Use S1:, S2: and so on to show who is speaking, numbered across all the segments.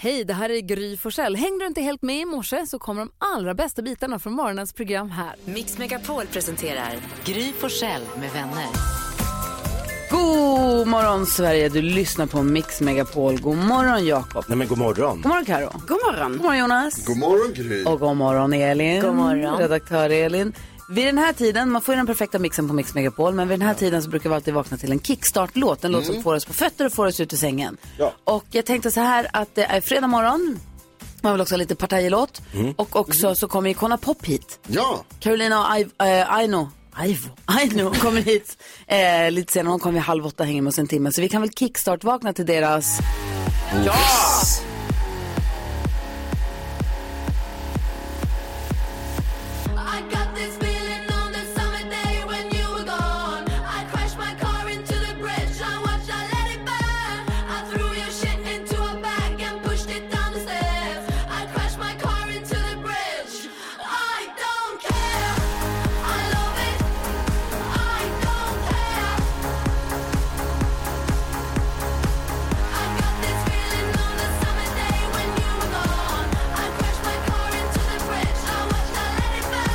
S1: Hej, det här är Gry Forssell. Hängde du inte helt med i morse så kommer de allra bästa bitarna från morgonens program här.
S2: Mix Megapol presenterar Gry Forssell med vänner.
S1: God morgon Sverige, du lyssnar på Mix Megapol. God morgon Jakob.
S3: Nej men god morgon.
S1: God morgon Karo. God morgon. God morgon Jonas.
S4: God morgon Gry.
S1: Och god morgon Elin.
S2: God morgon.
S1: Redaktör Elin. Vid den här tiden, man får ju den perfekta mixen på Mix Megapol, men vid den här tiden så brukar vi alltid vakna till en kickstart-låt. En låt som får oss på fötter och får oss ut ur sängen.
S3: Mm. Ja.
S1: Och jag tänkte så här att det är fredag morgon, man vill också ha lite partajlåt. Och också
S3: Mm.
S1: så kommer ju Kona Pop hit.
S4: Ja,
S1: Carolina och Aiv- eh, Aino. Aivo, Aino kommer hit eh, lite senare. Hon kommer vid halv åtta, hänger med oss en timme. Så vi kan väl kickstart-vakna till deras...
S5: I got this feeling on the summer day when you were gone. I crashed my car into the bridge. I watched, I let it burn. I threw your shit into a bag and pushed it down the stairs. I crashed my car into the bridge. I don't care. I love it. I don't care. I got this feeling on the summer day when you were gone. I crashed my car into the bridge. I watched, I let it burn.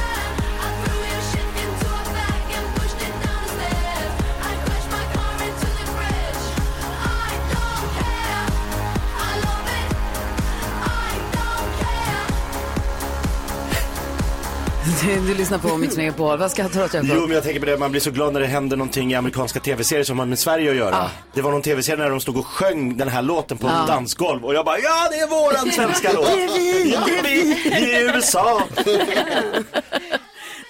S5: I threw your shit into a bag and pushed it down the stairs. I crashed my car into the bridge. I don't care. I love it. I don't care.
S1: du lyssnar på Mix Megapol. Vad skrattar du åt, Jakob?
S3: Jo men jag tänker på det, man blir så glad när det händer någonting i amerikanska tv-serier som har med Sverige att göra. Det var någon tv-serie när de stod och sjöng den här låten på ett dansgolv och jag bara ja det är våran svenska låt.
S1: Det är vi,
S3: Ja,
S1: det är
S3: vi i USA.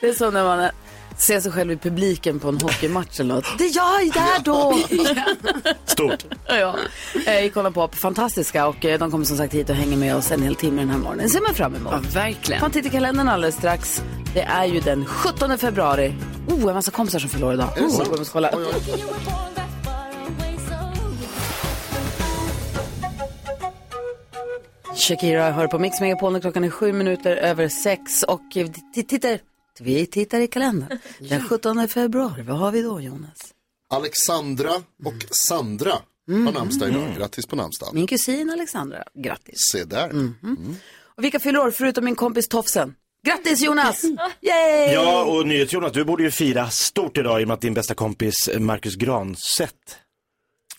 S1: Det är som när man ser sig själv i publiken på en hockeymatch eller något. Det är jag där då!
S3: Stort.
S1: ja, eh, Kolla på Ape, fantastiska och eh, de kommer som sagt hit och hänger med oss en hel timme den här morgonen. ser man fram emot.
S2: verkligen.
S1: Man tittar i kalendern alldeles strax. Det är ju den 17 februari. Oh, en massa kompisar som fyller år idag. Oh, jag måste kolla.
S5: You were born that far away, so
S1: Shakira hör på Mix Megapol när klockan är sju minuter över sex och vi t- tittar, vi tittar i kalendern. Den 17 februari, vad har vi då Jonas?
S4: Alexandra och Sandra har
S3: Mm.
S4: namnsdag idag. Grattis på namnsdagen.
S1: Min kusin Alexandra, grattis.
S4: Se där.
S3: Mm.
S1: Och vilka fyller år förutom min kompis Tofsen? Grattis Jonas! Yay!
S3: Ja och NyhetsJonas, du borde ju fira stort idag i och med att din bästa kompis Marcus Granset,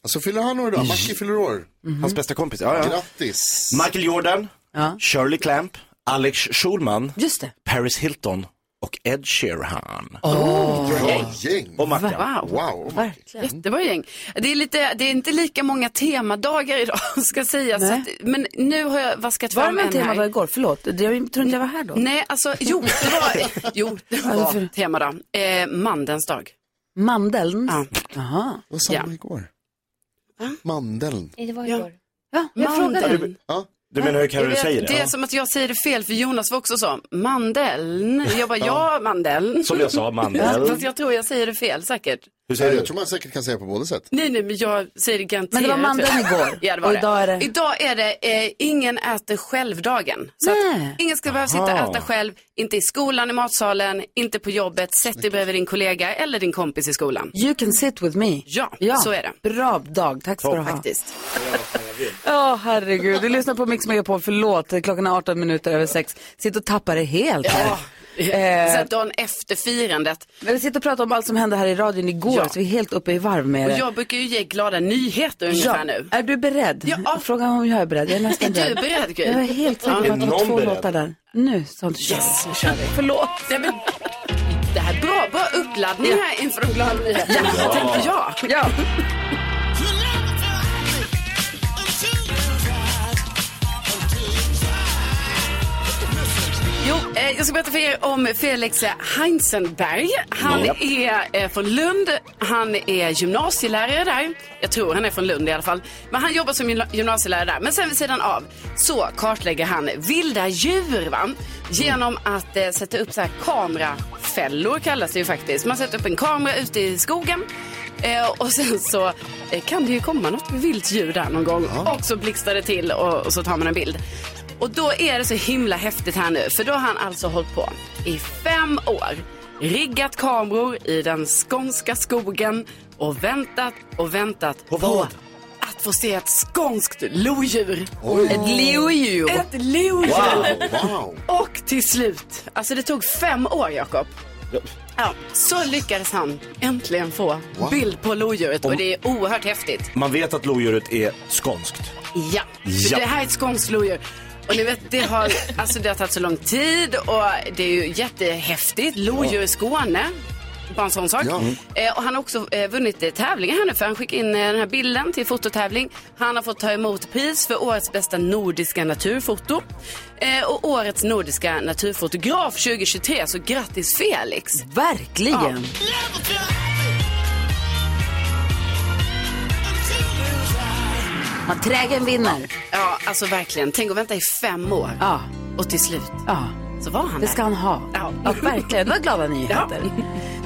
S4: Alltså fyller han år idag. Mackie fyller år.
S3: hans bästa kompis, ja, ja.
S4: Grattis.
S3: Michael Jordan,
S1: Mhm. Ja.
S3: Shirley Clamp, Alex Schulman,
S1: Just det.
S3: Paris Hilton och Ed Sheeran.
S4: Bra gäng.
S3: Och Mackan.
S6: Wow,
S4: Wow.
S1: Verkligen.
S6: jättebra gäng. Det är, lite, det är inte lika många temadagar idag ska sägas. Så
S1: Nej.
S6: att, men nu har jag vaskat
S1: Var det
S6: fram
S1: med
S6: en
S1: tema
S6: här.
S1: var igår? Förlåt, jag tror inte jag var här då.
S6: Nej, alltså jo, det var, jo, det var temadag. Eh, mandens dag.
S1: Mandeln.
S6: Ja.
S1: Jaha.
S4: Vad sa man igår? Mandeln.
S1: Ja, jag frågade. dig.
S6: Mandeln.
S4: Ja.
S3: Du menar hur
S6: Jag
S3: Carro
S6: vet,
S3: säger det?
S6: det är som att jag säger det fel, för Jonas var också så. Mandeln. Jag bara, ja, mandeln.
S3: Som jag sa, mandel.
S6: Fast jag tror jag säger det fel säkert.
S3: Hur säger
S4: Jag
S3: du?
S4: tror man säkert kan säga på båda sätt.
S6: Nej, nej, men jag säger det garanterat
S1: Men det var mandeln
S6: fel.
S1: igår.
S6: Ja, det var
S1: och
S6: det.
S1: idag är det...
S6: Idag är det eh, ingen äter själv-dagen. Så
S1: Nej.
S6: att ingen ska behöva sitta och
S3: Aha.
S6: äta själv, inte i skolan, i matsalen, inte på jobbet. Sätt dig bredvid din kollega eller din kompis i skolan.
S1: You can sit with me.
S6: Ja, så är det.
S1: Bra dag, tack ska du ha.
S6: Faktiskt.
S1: Ja, herregud. Du lyssnar på Mix Megapol, förlåt. Klockan är 18 minuter över sex. Sitt och tappa det helt här. Eh,
S6: Så att dagen efter firandet.
S1: Men vi sitter och pratar om allt som hände här i radion igår,
S6: Ja.
S1: så vi är helt uppe i varv med
S6: Och
S1: det.
S6: jag brukar ju ge glada nyheter ungefär nu.
S1: Är du beredd?
S6: Ja.
S1: Fråga om jag är beredd. Jag är nästan
S6: Är du
S1: beredd.
S6: beredd
S1: Jag är
S6: Gry?
S1: helt säker på
S3: Är
S1: att det var
S3: någon
S1: två
S3: beredd?
S1: låtar där. Nu sa du yes. nu kör vi. Förlåt.
S6: Nej, men, det här är bra, bra uppladdning här inför de glada nyheterna. Ja. Tänkte jag.
S1: Ja.
S6: Jo, eh, jag ska berätta för er om Felix eh, Heinzenberg. Han
S3: Ja.
S6: är eh, från Lund. Han är gymnasielärare där. Jag tror han är från Lund i alla fall. Men han jobbar som gymna- gymnasielärare där. Men sen vid sidan av så kartlägger han vilda djur va? genom att eh, sätta upp så här kamerafällor kallas det ju faktiskt. Man sätter upp en kamera ute i skogen. Eh, och sen så eh, kan det ju komma något vilt djur där någon gång. Och så blixtrar det till och, och så tar man en bild. Och då är det så himla häftigt här nu, för då har han alltså hållit på i fem år. Riggat kameror i den skånska skogen och väntat och väntat
S3: På vad?
S6: att få se ett skånskt lodjur.
S1: Ett leodjur.
S6: Ett lodjur.
S4: Wow.
S6: Och till slut, alltså det tog fem år Jakob. Ja, så lyckades han äntligen få bild på lodjuret och det är oerhört häftigt.
S3: Man vet att lodjuret är skånskt.
S6: Ja, för
S3: Ja.
S6: det här är ett skånskt lodjur. Och ni vet, det har, alltså det har tagit så lång tid och det är ju jättehäftigt. Lodjur i Skåne. Bara en sån sak.
S4: Ja.
S6: Eh, och han har också eh, vunnit eh, tävlingar här nu för han skickade in eh, den här bilden till fototävling. Han har fått ta emot pris för årets bästa nordiska naturfoto. Eh, och årets nordiska naturfotograf 2023. Så grattis Felix!
S1: Verkligen. Man trägen vinner.
S6: Ja, alltså verkligen. Tänk att vänta i fem år.
S1: Ja,
S6: Och till slut
S1: ja.
S6: så var han
S1: Det
S6: där.
S1: ska han ha.
S6: Ja.
S1: Ja, verkligen. Det var glada nyheter.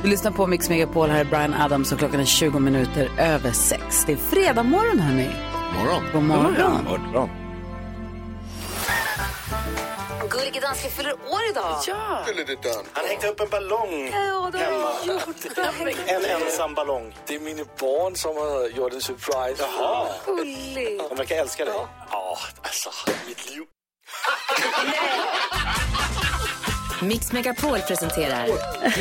S1: Du lyssnar på Mix Megapol. Här är Brian Adams och klockan är 20 minuter över sex. Det är fredag morgon, hörni.
S4: Morgon.
S1: God morgon.
S3: Morgon.
S2: Gullige dansken fyller år idag.
S6: Ja.
S3: Han hängde upp en ballong hemma. En ensam ballong.
S7: Det er mine barn, som har gjort en surprise. Jaha.
S3: De verkar älska dig.
S7: Åh, altså, mit alltså, liv.
S2: Mix Megapol presenterar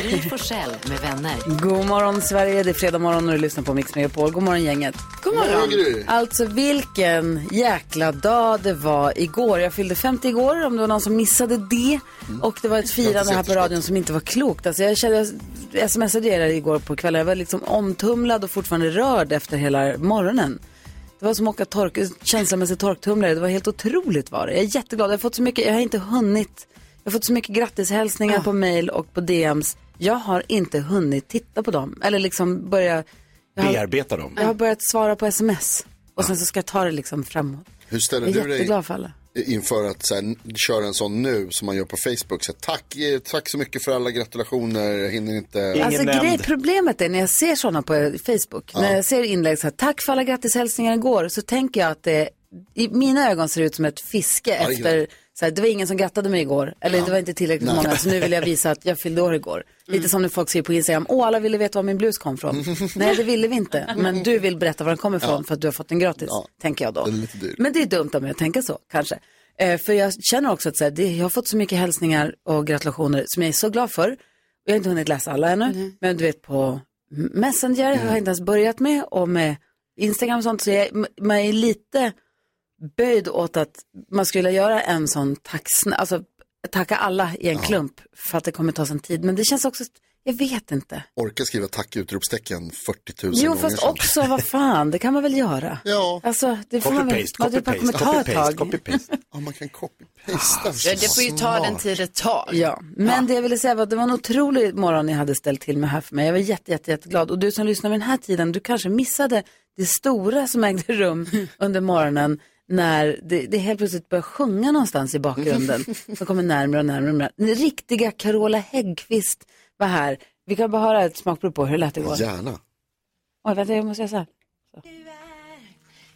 S2: Gry Forssell med vänner.
S1: God morgon, Sverige. Det är fredag morgon och du lyssnar på Mix Megapol. God morgon, gänget. God
S4: morgon, Gry.
S1: Alltså, vilken jäkla dag det var igår. Jag fyllde 50 igår, om det var någon som missade det. Och det var ett firande här på radion som inte var klokt. Alltså, jag kände, jag smsade er igår på kvällen. Jag var liksom omtumlad och fortfarande rörd efter hela morgonen. Det var som att åka tork, känslomässigt torktumlare. Det var helt otroligt var det. Jag är jätteglad. Jag har fått så mycket, jag har inte hunnit. Jag har fått så mycket grattishälsningar på mail och på DMs. Jag har inte hunnit titta på dem. Eller liksom börja, jag har,
S3: Bearbeta dem.
S1: jag har börjat svara på sms. Och sen så ska jag ta det liksom framåt.
S4: Hur ställer
S1: Jag är
S4: du dig
S1: jätteglad för alla.
S4: inför att så här, n- köra en sån nu som man gör på Facebook? Så här, tack, eh, tack så mycket för alla gratulationer, jag hinner inte.
S3: Ingen
S1: Alltså
S3: nämnd.
S1: grej, problemet är när jag ser sådana på Facebook, när jag ser inlägg så här, tack för alla grattishälsningar igår, så tänker jag att det i mina ögon ser det ut som ett fiske
S4: det är
S1: efter, så här, det var ingen som grattade mig igår, eller det var inte tillräckligt många, så nu vill jag visa att jag fyllde år igår. Lite som när folk säger på Instagram, åh alla ville veta var min blus kom från. Nej det ville vi inte, men du vill berätta var den kommer ifrån för att du har fått den gratis, tänker jag då.
S4: Den är lite dyr.
S1: Men det är dumt om jag tänker så, kanske. Eh, för jag känner också att så här, det, jag har fått så mycket hälsningar och gratulationer som jag är så glad för. Jag har inte hunnit läsa alla ännu, men du vet på Messenger
S4: Mm.
S1: har jag inte ens börjat med och med Instagram och sånt så jag, m- man är lite böjd åt att man skulle göra en sån taxn, alltså tacka alla i en klump för att det kommer ta sån tid. Men det känns också, jag vet inte.
S4: Orka skriva tack utropstecken 40 000
S1: Jo,
S4: gånger.
S1: fast
S4: sen.
S1: också, vad fan, det kan man väl göra?
S4: Ja,
S1: Alltså, det får man väl,
S3: Copy-paste,
S1: ja, det bara
S3: copy-paste,
S1: kommer ta
S3: copy-paste,
S1: ett tag.
S3: copy-paste.
S4: ja, man kan copy-pasta.
S6: Ja, det får ju ta den tid det tar.
S1: Ja, men det jag ville säga var att det var en otrolig morgon ni hade ställt till med här för mig. Jag var jätte, jätte, jätteglad. Och du som lyssnar vid den här tiden, du kanske missade det stora som ägde rum under morgonen när det, det helt plötsligt började sjunga någonstans i bakgrunden. Som kommer närmare och närmare. och närmare. Den riktiga Carola Häggkvist var här. Vi kan bara höra ett smakprov på hur det lät igår.
S4: Gärna.
S1: Oj, vänta, jag måste göra så här.
S5: Du är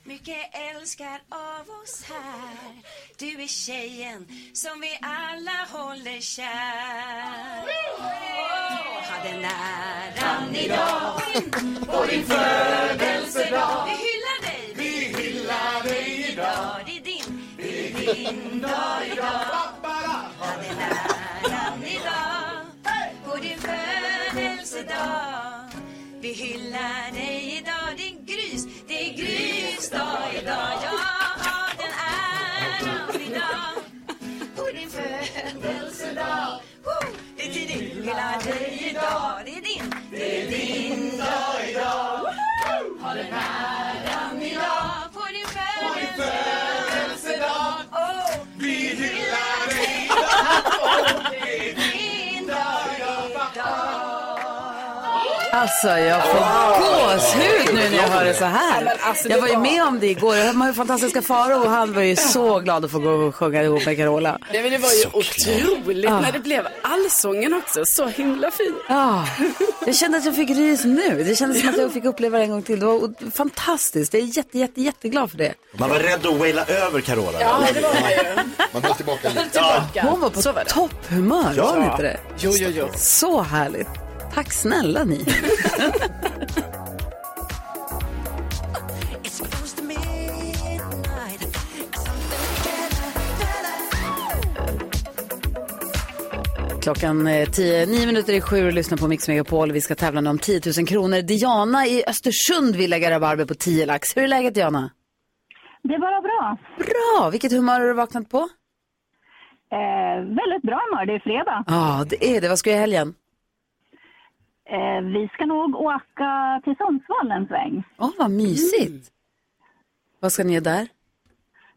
S5: mycket älskad av oss här Du är tjejen som vi alla håller kär Åh, ha den äran idag på din födelsedag Vi hyllar dig, vi hyllar dig idag Det är din, det är din dag idag Ha den äran idag på din födelsedag vi hyllar dig idag, det är grys, det är grys dag idag Jag har den äran idag på din födelsedag Woo! Det är din, hyllar dig idag, det är din, det är din dag idag Woo! Har den äran idag på din födelsedag oh. Vi hyllar dig idag, det är din dag idag
S1: Alltså jag får gåshud nu när jag hör det så här. jag var ju med om alltså, det igår. Jag hörde fantastiska Faro och han var ju så glad att få gå och sjunga ihop med Carola.
S6: Nej, men det var ju otroligt när det blev allsången också. Så himla fint.
S1: Ja, jag kände att jag fick ris nu. Det kändes som att jag fick uppleva det en gång till. Det var o- fantastiskt. Jag är jätte, jätte, jätteglad för det.
S3: Man var rädd att waila över Carola.
S6: det var man ju.
S4: Man höll tillbaka lite.
S6: Tillbaka.
S1: Hon var på
S6: Så var det.
S1: topphumör, var hon inte det?
S6: Jo, jo, jo.
S1: Så härligt. Tack snälla ni.
S5: It's supposed to be
S1: Klockan eh, 10, 9 minuter i sju och lyssnar på Mix Megapol. Vi ska tävla nu om 10 000 kronor. Diana i Östersund vill lägga rabarber på 10 lax. Hur är läget Diana?
S8: Det är bara bra.
S1: Bra! Vilket humör har du vaknat på?
S8: Eh, väldigt bra humör, det är fredag.
S1: Ja, det är det. Vad ska du göra i helgen?
S8: Eh, vi ska nog åka till Sundsvall en sväng.
S1: Åh, vad mysigt. Vad ska ni göra där?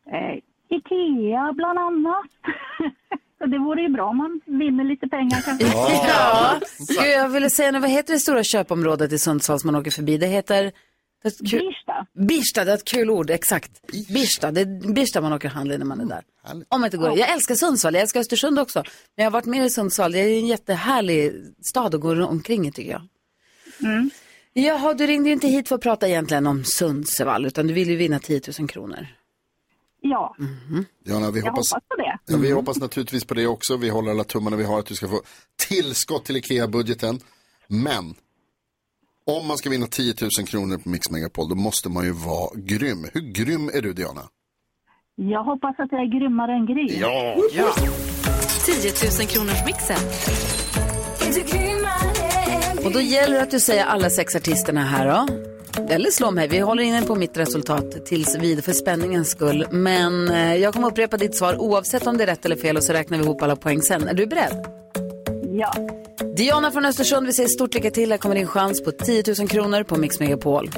S8: Eh, Ikea bland annat. Så det vore ju bra om man vinner lite pengar kanske.
S1: Ja. Gud, jag ville säga nu, vad heter det stora köpområdet i Sundsvall som man åker förbi? Det heter... Det är ett kul...
S8: Birsta.
S1: Birsta, det är ett kul ord, exakt. Birsta, det är Birsta man åker och handlar när man är där. Om inte går. Jag älskar Sundsvall, jag älskar Östersund också. Men jag har varit mer i Sundsvall, det är en jättehärlig stad att gå omkring i tycker jag. Jaha, du ringde ju inte hit för att prata egentligen om Sundsvall, utan du vill ju vinna 10 000 kronor.
S8: Ja,
S1: Mhm.
S4: Diana, vi
S8: jag
S4: hoppas,
S8: hoppas på det.
S4: ja,
S1: Mm.
S4: vi hoppas naturligtvis på det också. Vi håller alla tummarna vi har att du ska få tillskott till Ikea-budgeten. Men om man ska vinna 10 000 kronor på Mix Megapol, då måste man ju vara grym. Hur grym är du, Diana?
S8: Jag hoppas att jag är grymmare än Gry.
S2: 10 000 kronors mixen.
S1: Och då gäller det att du säger alla sex artisterna här då. Eller slå mig, vi håller inne på mitt resultat tills vid för spänningens skull. Men eh, jag kommer upprepa ditt svar oavsett om det är rätt eller fel och så räknar vi ihop alla poäng sen. Är du beredd?
S8: Ja.
S1: Diana från Östersund, vi säger stort lycka till. Här kommer din chans på 10 000 kronor på Mix Megapol.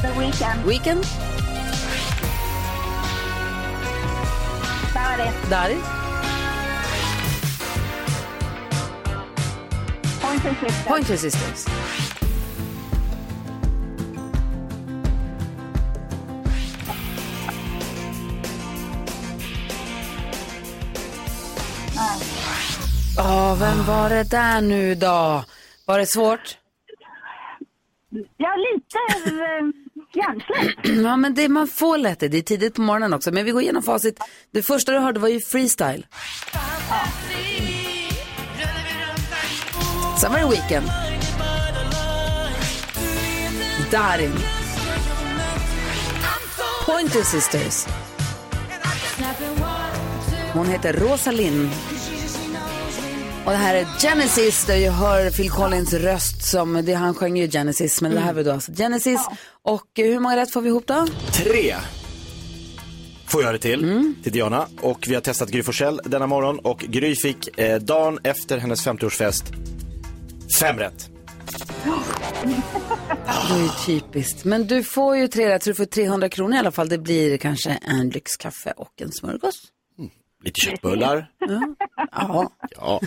S8: The Weeknd,
S1: Weekend,
S8: Sari,
S1: Dari,
S8: Pointer Sisters,
S1: Pointer Sisters. Ja, vem var det där nu då? Var det svårt?
S8: Ja, lite eh, hjärnsläpp.
S1: Ja, men det, man får lätt det. Det är tidigt på morgonen också. Men vi går igenom facit. Det första du hörde var ju freestyle. Sen var det Weekend. Darin. Pointer Sisters. Hon heter Rosa Lind. Och det här är Genesis, där jag hör Phil Collins röst som, det, han sjöng ju Genesis, men det här var då alltså Genesis. Och eh, hur många rätt får vi ihop då?
S3: Tre får jag det till,
S6: Mm.
S3: till Diana. Och vi har testat Gry Forssell denna morgon och Gry fick eh, dagen efter hennes 50-årsfest fem rätt.
S1: Det är ju typiskt. Men du får ju tre rätt, så du får 300 kronor i alla fall. Det blir kanske en lyxkaffe och en smörgås.
S3: Lite köttbullar.
S1: Ja.
S3: Ja.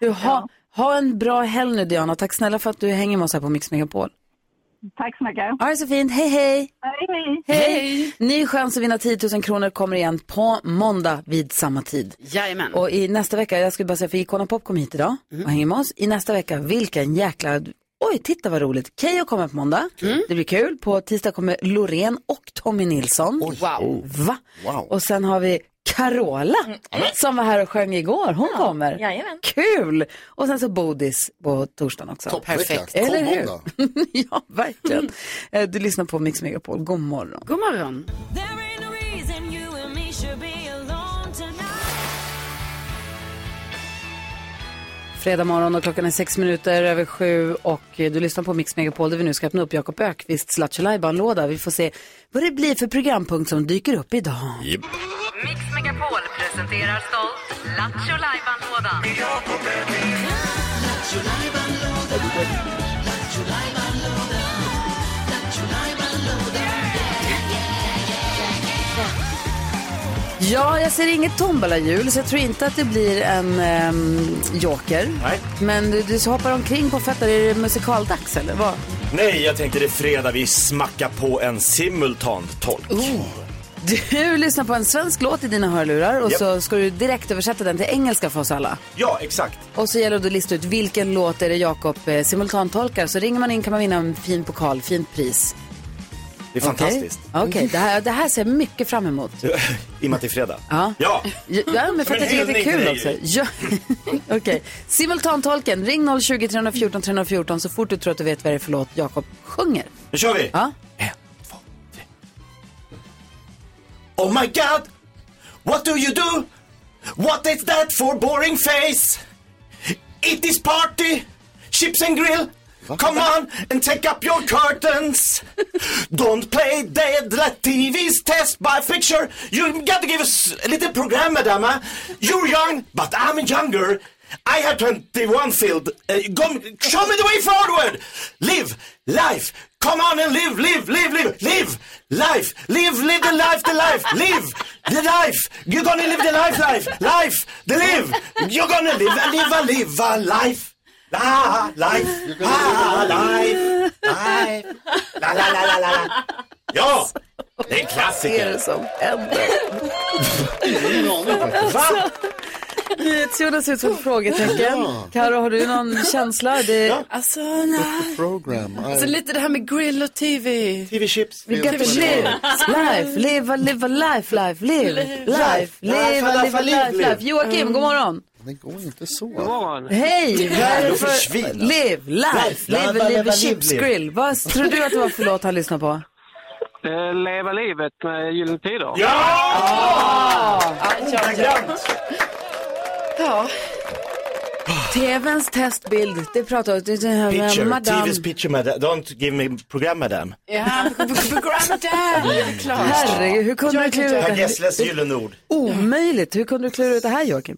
S1: Du, ha, ha en bra helg nu Diana. Tack snälla för att du hänger med oss här på Mix Megapol.
S8: Tack så mycket.
S1: Ha det så fint. Hej, hej!
S8: Hej, hej.
S1: Hej! Ny chans att vinna 10 000 kronor kommer igen på måndag vid samma tid.
S6: Jajamän. Mm.
S1: Och i nästa vecka, jag skulle bara säga för Icona Pop kom hit idag och hänger med oss. I nästa vecka, vilken jäkla... Oj, titta vad roligt. Keyyo kommer på måndag.
S6: Mm.
S1: Det blir kul. På tisdag kommer Loreen och Tommy Nilsson.
S6: Wow. Mm.
S1: Va? Och sen har vi Carola som var här och sjöng igår. Hon kommer.
S9: jajamän.
S1: Kul! Och sen så Bodis på torsdagen också.
S4: Toppvecka.
S1: Eller
S4: Kom
S1: hur?
S4: måndag.
S1: ja, verkligen. Eh, Du lyssnar på Mix Megapol. God morgon.
S6: God morgon.
S5: There ain't no reason you and me should be alone tonight.
S1: Fredag morgon och klockan är sex minuter över sju och eh, du lyssnar på Mix Megapol där vi nu ska öppna upp Jakob Ökvists Lattjo låda Vi får se vad det blir för programpunkt som dyker upp idag.
S2: Mix Megapol presenterar stolt Lattjo Lajban-lådan.
S1: Ja, jag ser inget tombolahjul så jag tror inte att det blir en ehm, joker.
S3: Nej.
S1: Men du, du hoppar omkring på fötter. Är det musikaldags eller vad?
S3: Nej, jag tänkte det är fredag. Vi smackar på en simultantolk.
S1: Oh. Du lyssnar på en svensk låt i dina hörlurar och
S3: Japp.
S1: så ska du direkt översätta den till engelska för oss alla.
S3: Ja, exakt.
S1: Och så gäller det att lista ut vilken låt är det Jakob eh, simultantolkar. Så ringer man in kan man vinna en fin pokal, fint pris.
S3: Det är fantastiskt.
S1: Okej, Okej, det, här, det här ser jag mycket fram emot.
S3: I och med att det är fredag.
S1: Ja.
S3: ja.
S1: Ja, men för att jag tycker att det är
S3: hyllning till
S1: kul
S3: dig.
S1: också. Ja. Okej, simultantolken. Ring 020 314 314 så fort du tror att du vet vad det är för låt Jakob sjunger.
S3: Nu kör vi.
S1: Ja.
S3: En,
S10: Oh my god! What do you do? What is that for boring face? It is party! Chips and grill! Come on and take up your curtains! Don't play dead let TV's test by picture! You gotta give us a little program, madam. huh? You're young, but I'm younger. I have 21 filled. Uh, come, show me the way forward! Live life! Come on and live, live, live, live, live life, live, live the life, the life, live the life. You're gonna live the life, life, life, the live. You're gonna live a live a live a life. La life, la life, life, la la la la la. la. Ja, det är en
S1: Vad är det
S10: klassiker.
S1: som händer?
S4: Ingen aning faktiskt.
S10: Va?
S1: Jonas ser ut som Alltså. ett frågetecken. Karo, har du någon känsla? Det,
S6: Alltså, nej.
S4: Program. I-
S6: Alltså lite det här med grill och TV.
S10: TV-chips.
S1: We got to live, life, live, a- live, a life, life, live, life, live, a- live, a life, life. Joakim, god morgon.
S4: Det går inte så.
S6: Mm.
S1: Hej, vad är det
S10: Jävla
S1: för
S10: försvin, alltså.
S1: live, life,
S10: Life, la-
S1: live,
S10: la- la-
S1: live,
S10: la-
S1: chips
S10: live.
S1: grill? Vad tror du att det var för låt han lyssnade på?
S9: Eh, Leva livet med Gyllene Tider.
S6: Ja.
S1: TVns testbild, det pratar vi om. Det här med
S10: Picture,
S1: madame.
S10: TV's picture, madam. Don't give me program, madam.
S6: Ja, program där. Det är klart.
S1: Herregud, hur kunde du klura ut det
S10: Per
S1: här?
S10: Gessles gyllene ord.
S1: Omöjligt, hur kunde du klura ut det här Joakim?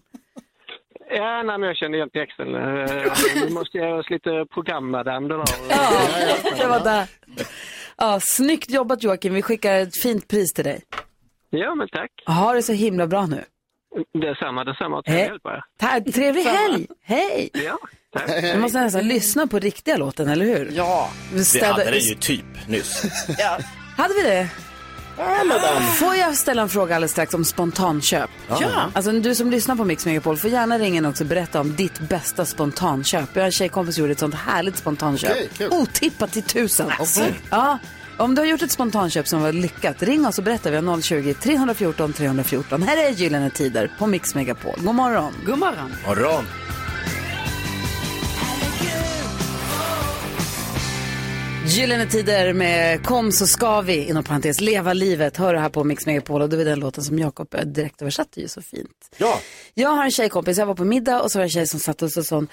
S9: Ja, nej, men jag kände igen texten. Eh, Nu måste jag göra lite program med den. Det var.
S1: Ja, det var där. Ja, snyggt jobbat Joakim, vi skickar ett fint pris till dig.
S9: Ja, men tack.
S1: Ha det så himla bra nu.
S9: Detsamma, detsamma. Tack
S1: Hej.
S9: hjälpa er.
S1: Ta- Trevlig helg! Hej!
S9: Ja, tack.
S1: Man måste nästan lyssna på riktiga låten, eller hur?
S6: Ja.
S1: Vi
S10: Det
S1: städar-
S10: hade den ju typ nyss.
S1: Hade vi det? Får jag ställa en fråga alldeles strax om spontanköp?
S6: Ja.
S1: Alltså du som lyssnar på Mix Megapol får gärna ringa in och också berätta om ditt bästa spontanköp. Jag har en tjejkompis som gjorde ett sånt härligt spontanköp.
S4: Okej, kul.
S1: Otippat till tusen.
S6: Alltså.
S1: Alltså. Ja. Om du har gjort ett spontanköp som var lyckat, ring oss och berätta. Vi har 020-314 314. Här är Gyllene Tider på Mix Megapol. God morgon.
S6: God morgon.
S10: Morgon.
S1: Gyllene Tider med Kom så ska vi, inom parentes, leva livet. Hör det här på Mix Megapol och det var den låten som Jakob eh, direkt översatte ju så fint.
S10: Ja.
S1: Jag har en tjejkompis, jag var på middag och så var det en tjej som satt och så sa hon,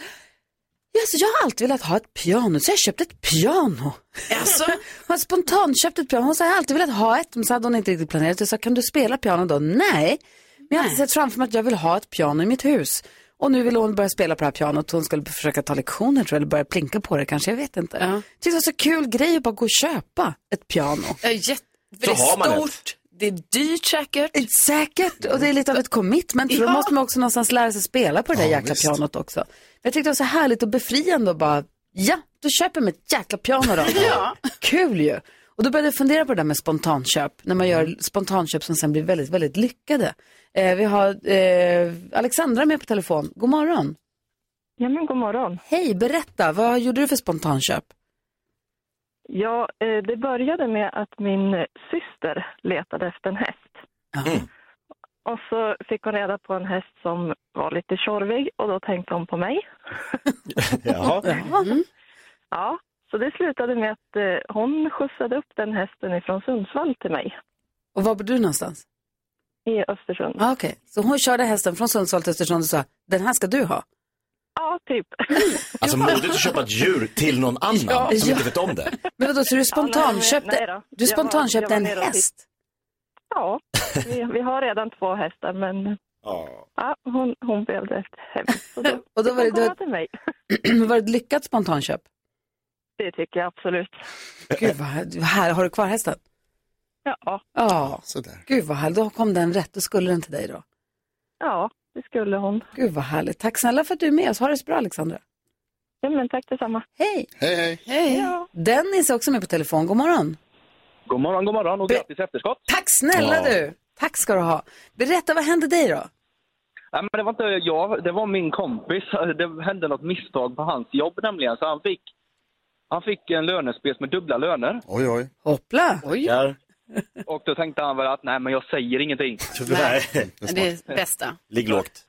S1: "Jaså, jag har alltid velat ha ett piano, så jag köpte ett piano.
S6: Alltså,
S1: Hon har spontant köpt ett piano, hon sa, jag har alltid velat ha ett, men så hade hon inte riktigt planerat. Jag sa, kan du spela piano då? Nej, men jag hade sett framför mig att jag vill ha ett piano i mitt hus. Och nu ville hon börja spela på det här pianot, hon skulle försöka ta lektioner tror jag, eller börja plinka på det kanske, jag vet inte.
S6: Ja.
S1: Tyckte det var så kul grej att bara gå och köpa ett piano.
S6: jag är jätte...
S10: Så
S6: det är
S10: har man ett.
S6: stort, det är dyrt säkert.
S1: Säkert, och det är lite av ett commitment för då
S6: Ja.
S1: måste man också någonstans lära sig spela på det där jäkla pianot också. Jag tyckte det var så härligt och befriande och bara, ja, då köper jag mig ett jäkla piano då. Kul ju. Och då började jag fundera på det där med spontanköp, när man gör spontanköp som sen blir väldigt, väldigt lyckade. Eh, vi har eh, Alexandra med på telefon, god morgon.
S11: Ja, men god morgon.
S1: Hej, berätta, vad gjorde du för spontanköp?
S11: Ja, eh, det började med att min syster letade efter en häst.
S1: Ja.
S11: Och så fick hon reda på en häst som var lite tjorvig och då tänkte hon på mig.
S10: Jaha.
S1: Mm.
S11: Ja, så det slutade med att eh, hon skjutsade upp den hästen ifrån Sundsvall till mig
S1: Och var bor du någonstans?
S11: i Östersund.
S1: Ah, Okej, så hon körde hästen från Sundsvall till Östersund och sa, den här ska du ha.
S11: Ja, typ.
S10: Alltså modigt att köpa ett djur till någon annan som
S1: Ja.
S10: inte vet om det.
S1: Men vadå, så du
S11: Ja,
S1: spontanköpte,
S11: nej, nej då.
S1: du
S11: Jag var-
S1: spontanköpte
S11: jag
S1: en
S11: var nere och
S1: häst?
S11: Ja, vi, vi har redan två hästar men ja, hon, hon välde ett hem. Så då,
S1: Och då var det-
S11: hon
S1: då-
S11: komma till mig.
S1: var det ett lyckat spontanköp?
S11: Det tycker jag absolut.
S1: Gud vad här, här har du kvar hästen?
S11: Ja,
S1: Ja.
S4: Sådär.
S1: Gud vad härligt, då kom den rätt, då skulle den till dig då.
S11: ja, det skulle hon.
S1: Gud vad härligt, tack snälla för att du är med oss, ha det så bra Alexandra.
S11: Ja, men tack detsamma.
S1: Hej!
S4: Hej, hej.
S11: Ja.
S1: Dennis är också med på telefon, god morgon.
S9: God morgon, god morgon och grattis efterskott.
S1: Tack snälla
S10: Ja.
S1: du! Tack ska du ha. Berätta, vad hände dig då?
S9: Nej, men det var inte jag, det var min kompis. Det hände något misstag på hans jobb nämligen. Så han fick, han fick en lönespes med dubbla löner.
S4: Oj, oj.
S1: Hoppla!
S10: Där.
S9: Och då tänkte han väl att nej, men jag säger ingenting.
S10: Nej.
S6: Det är bästa.
S10: Ligg lågt.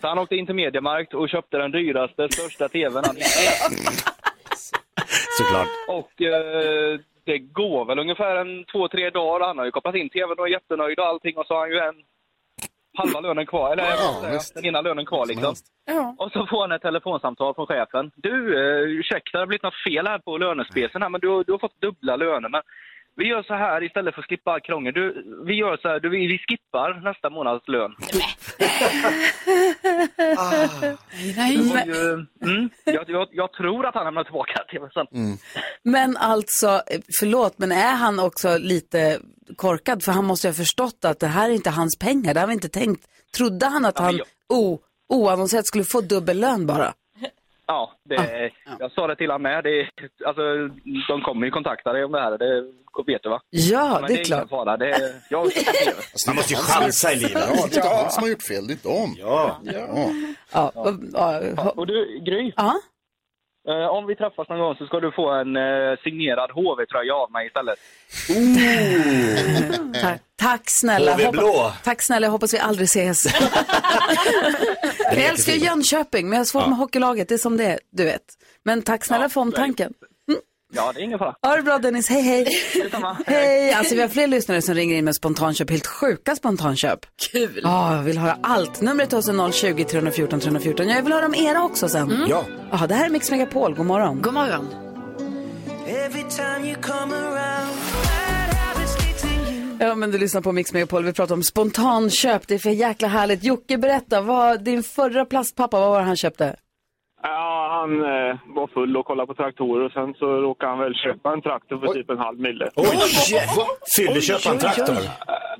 S9: Så han åkte in till Mediamarkt och köpte den dyraste, största tvn han hittade.
S10: Såklart.
S9: Och eh, det går väl ungefär en två, tre dagar. Han har ju kopplat in tvn och är jättenöjd och allting och så har han ju en halva lönen kvar, eller
S4: Ja,
S9: ja,
S4: visst.
S9: den ena lönen kvar liksom.
S4: helst.
S1: Ja.
S9: Och så får han ett telefonsamtal från chefen. Du, eh, ursäkta, det har blivit något fel här på lönespecen här, men du, du har fått dubbla löner. Men vi gör så här istället för att skippa all krångel. Du, vi gör så här, du, vi vi skippar nästa månads lön.
S4: Ah.
S9: Det var ju, mm, jag, jag, jag tror att han lämnar tillbaka tvn sen.
S4: Mm.
S1: Men alltså, eh, förlåt, men är han också lite korkad? För han måste ju ha förstått att det här är inte hans pengar. Det har vi inte tänkt. Trodde han att
S9: Ja, men
S1: han o, oannonserat skulle få dubbel lön bara?
S9: Ja, det, jag sa det till honom med. Det, alltså, de kommer ju kontakta dig om det här, det vet du va?
S1: Ja,
S9: Men
S1: det är klart.
S9: ingen fara. Det, jag
S3: Man måste ju chansa i livet.
S4: Ja, det är inte han som har gjort fel, det är inte om.
S3: Ja.
S4: Ja.
S1: Ja, ja. ja.
S9: Och du, Gry,
S1: ja.
S9: eh, om vi träffas någon gång så ska du få en eh, signerad HV-tröja av mig istället. Oh.
S1: Tack, tack snälla.
S3: HV blå.
S1: Hoppa- tack snälla, jag hoppas vi aldrig ses. jag älskar ju Jönköping, men jag har svårt med hockeylaget. Det är som det är, du vet. Men tack snälla för omtanken.
S9: Ja, det är ingen fara.
S1: Ha det bra Dennis, hej hej.
S9: Detsamma.
S1: Hej, alltså vi har fler lyssnare som ringer in med spontanköp, helt sjuka spontanköp. Kul. Ja, jag vill höra allt. Numret till oss är 020 314 314. Jag vill höra om era också sen.
S3: Ja.
S1: Ja, det här är Mix Megapol, god morgon.
S2: God morgon.
S1: Ja, men du lyssnar på Mix Megapol. Vi pratar om spontanköp. Det är för jäkla härligt. Jocke, berätta. Vad, din förra plastpappa, vad var det han köpte?
S9: Ja, han eh, var full och kollade på traktorer och sen så råkade han väl köpa en traktor för typ en halv mille.
S3: Oj! Fylleköp en traktor.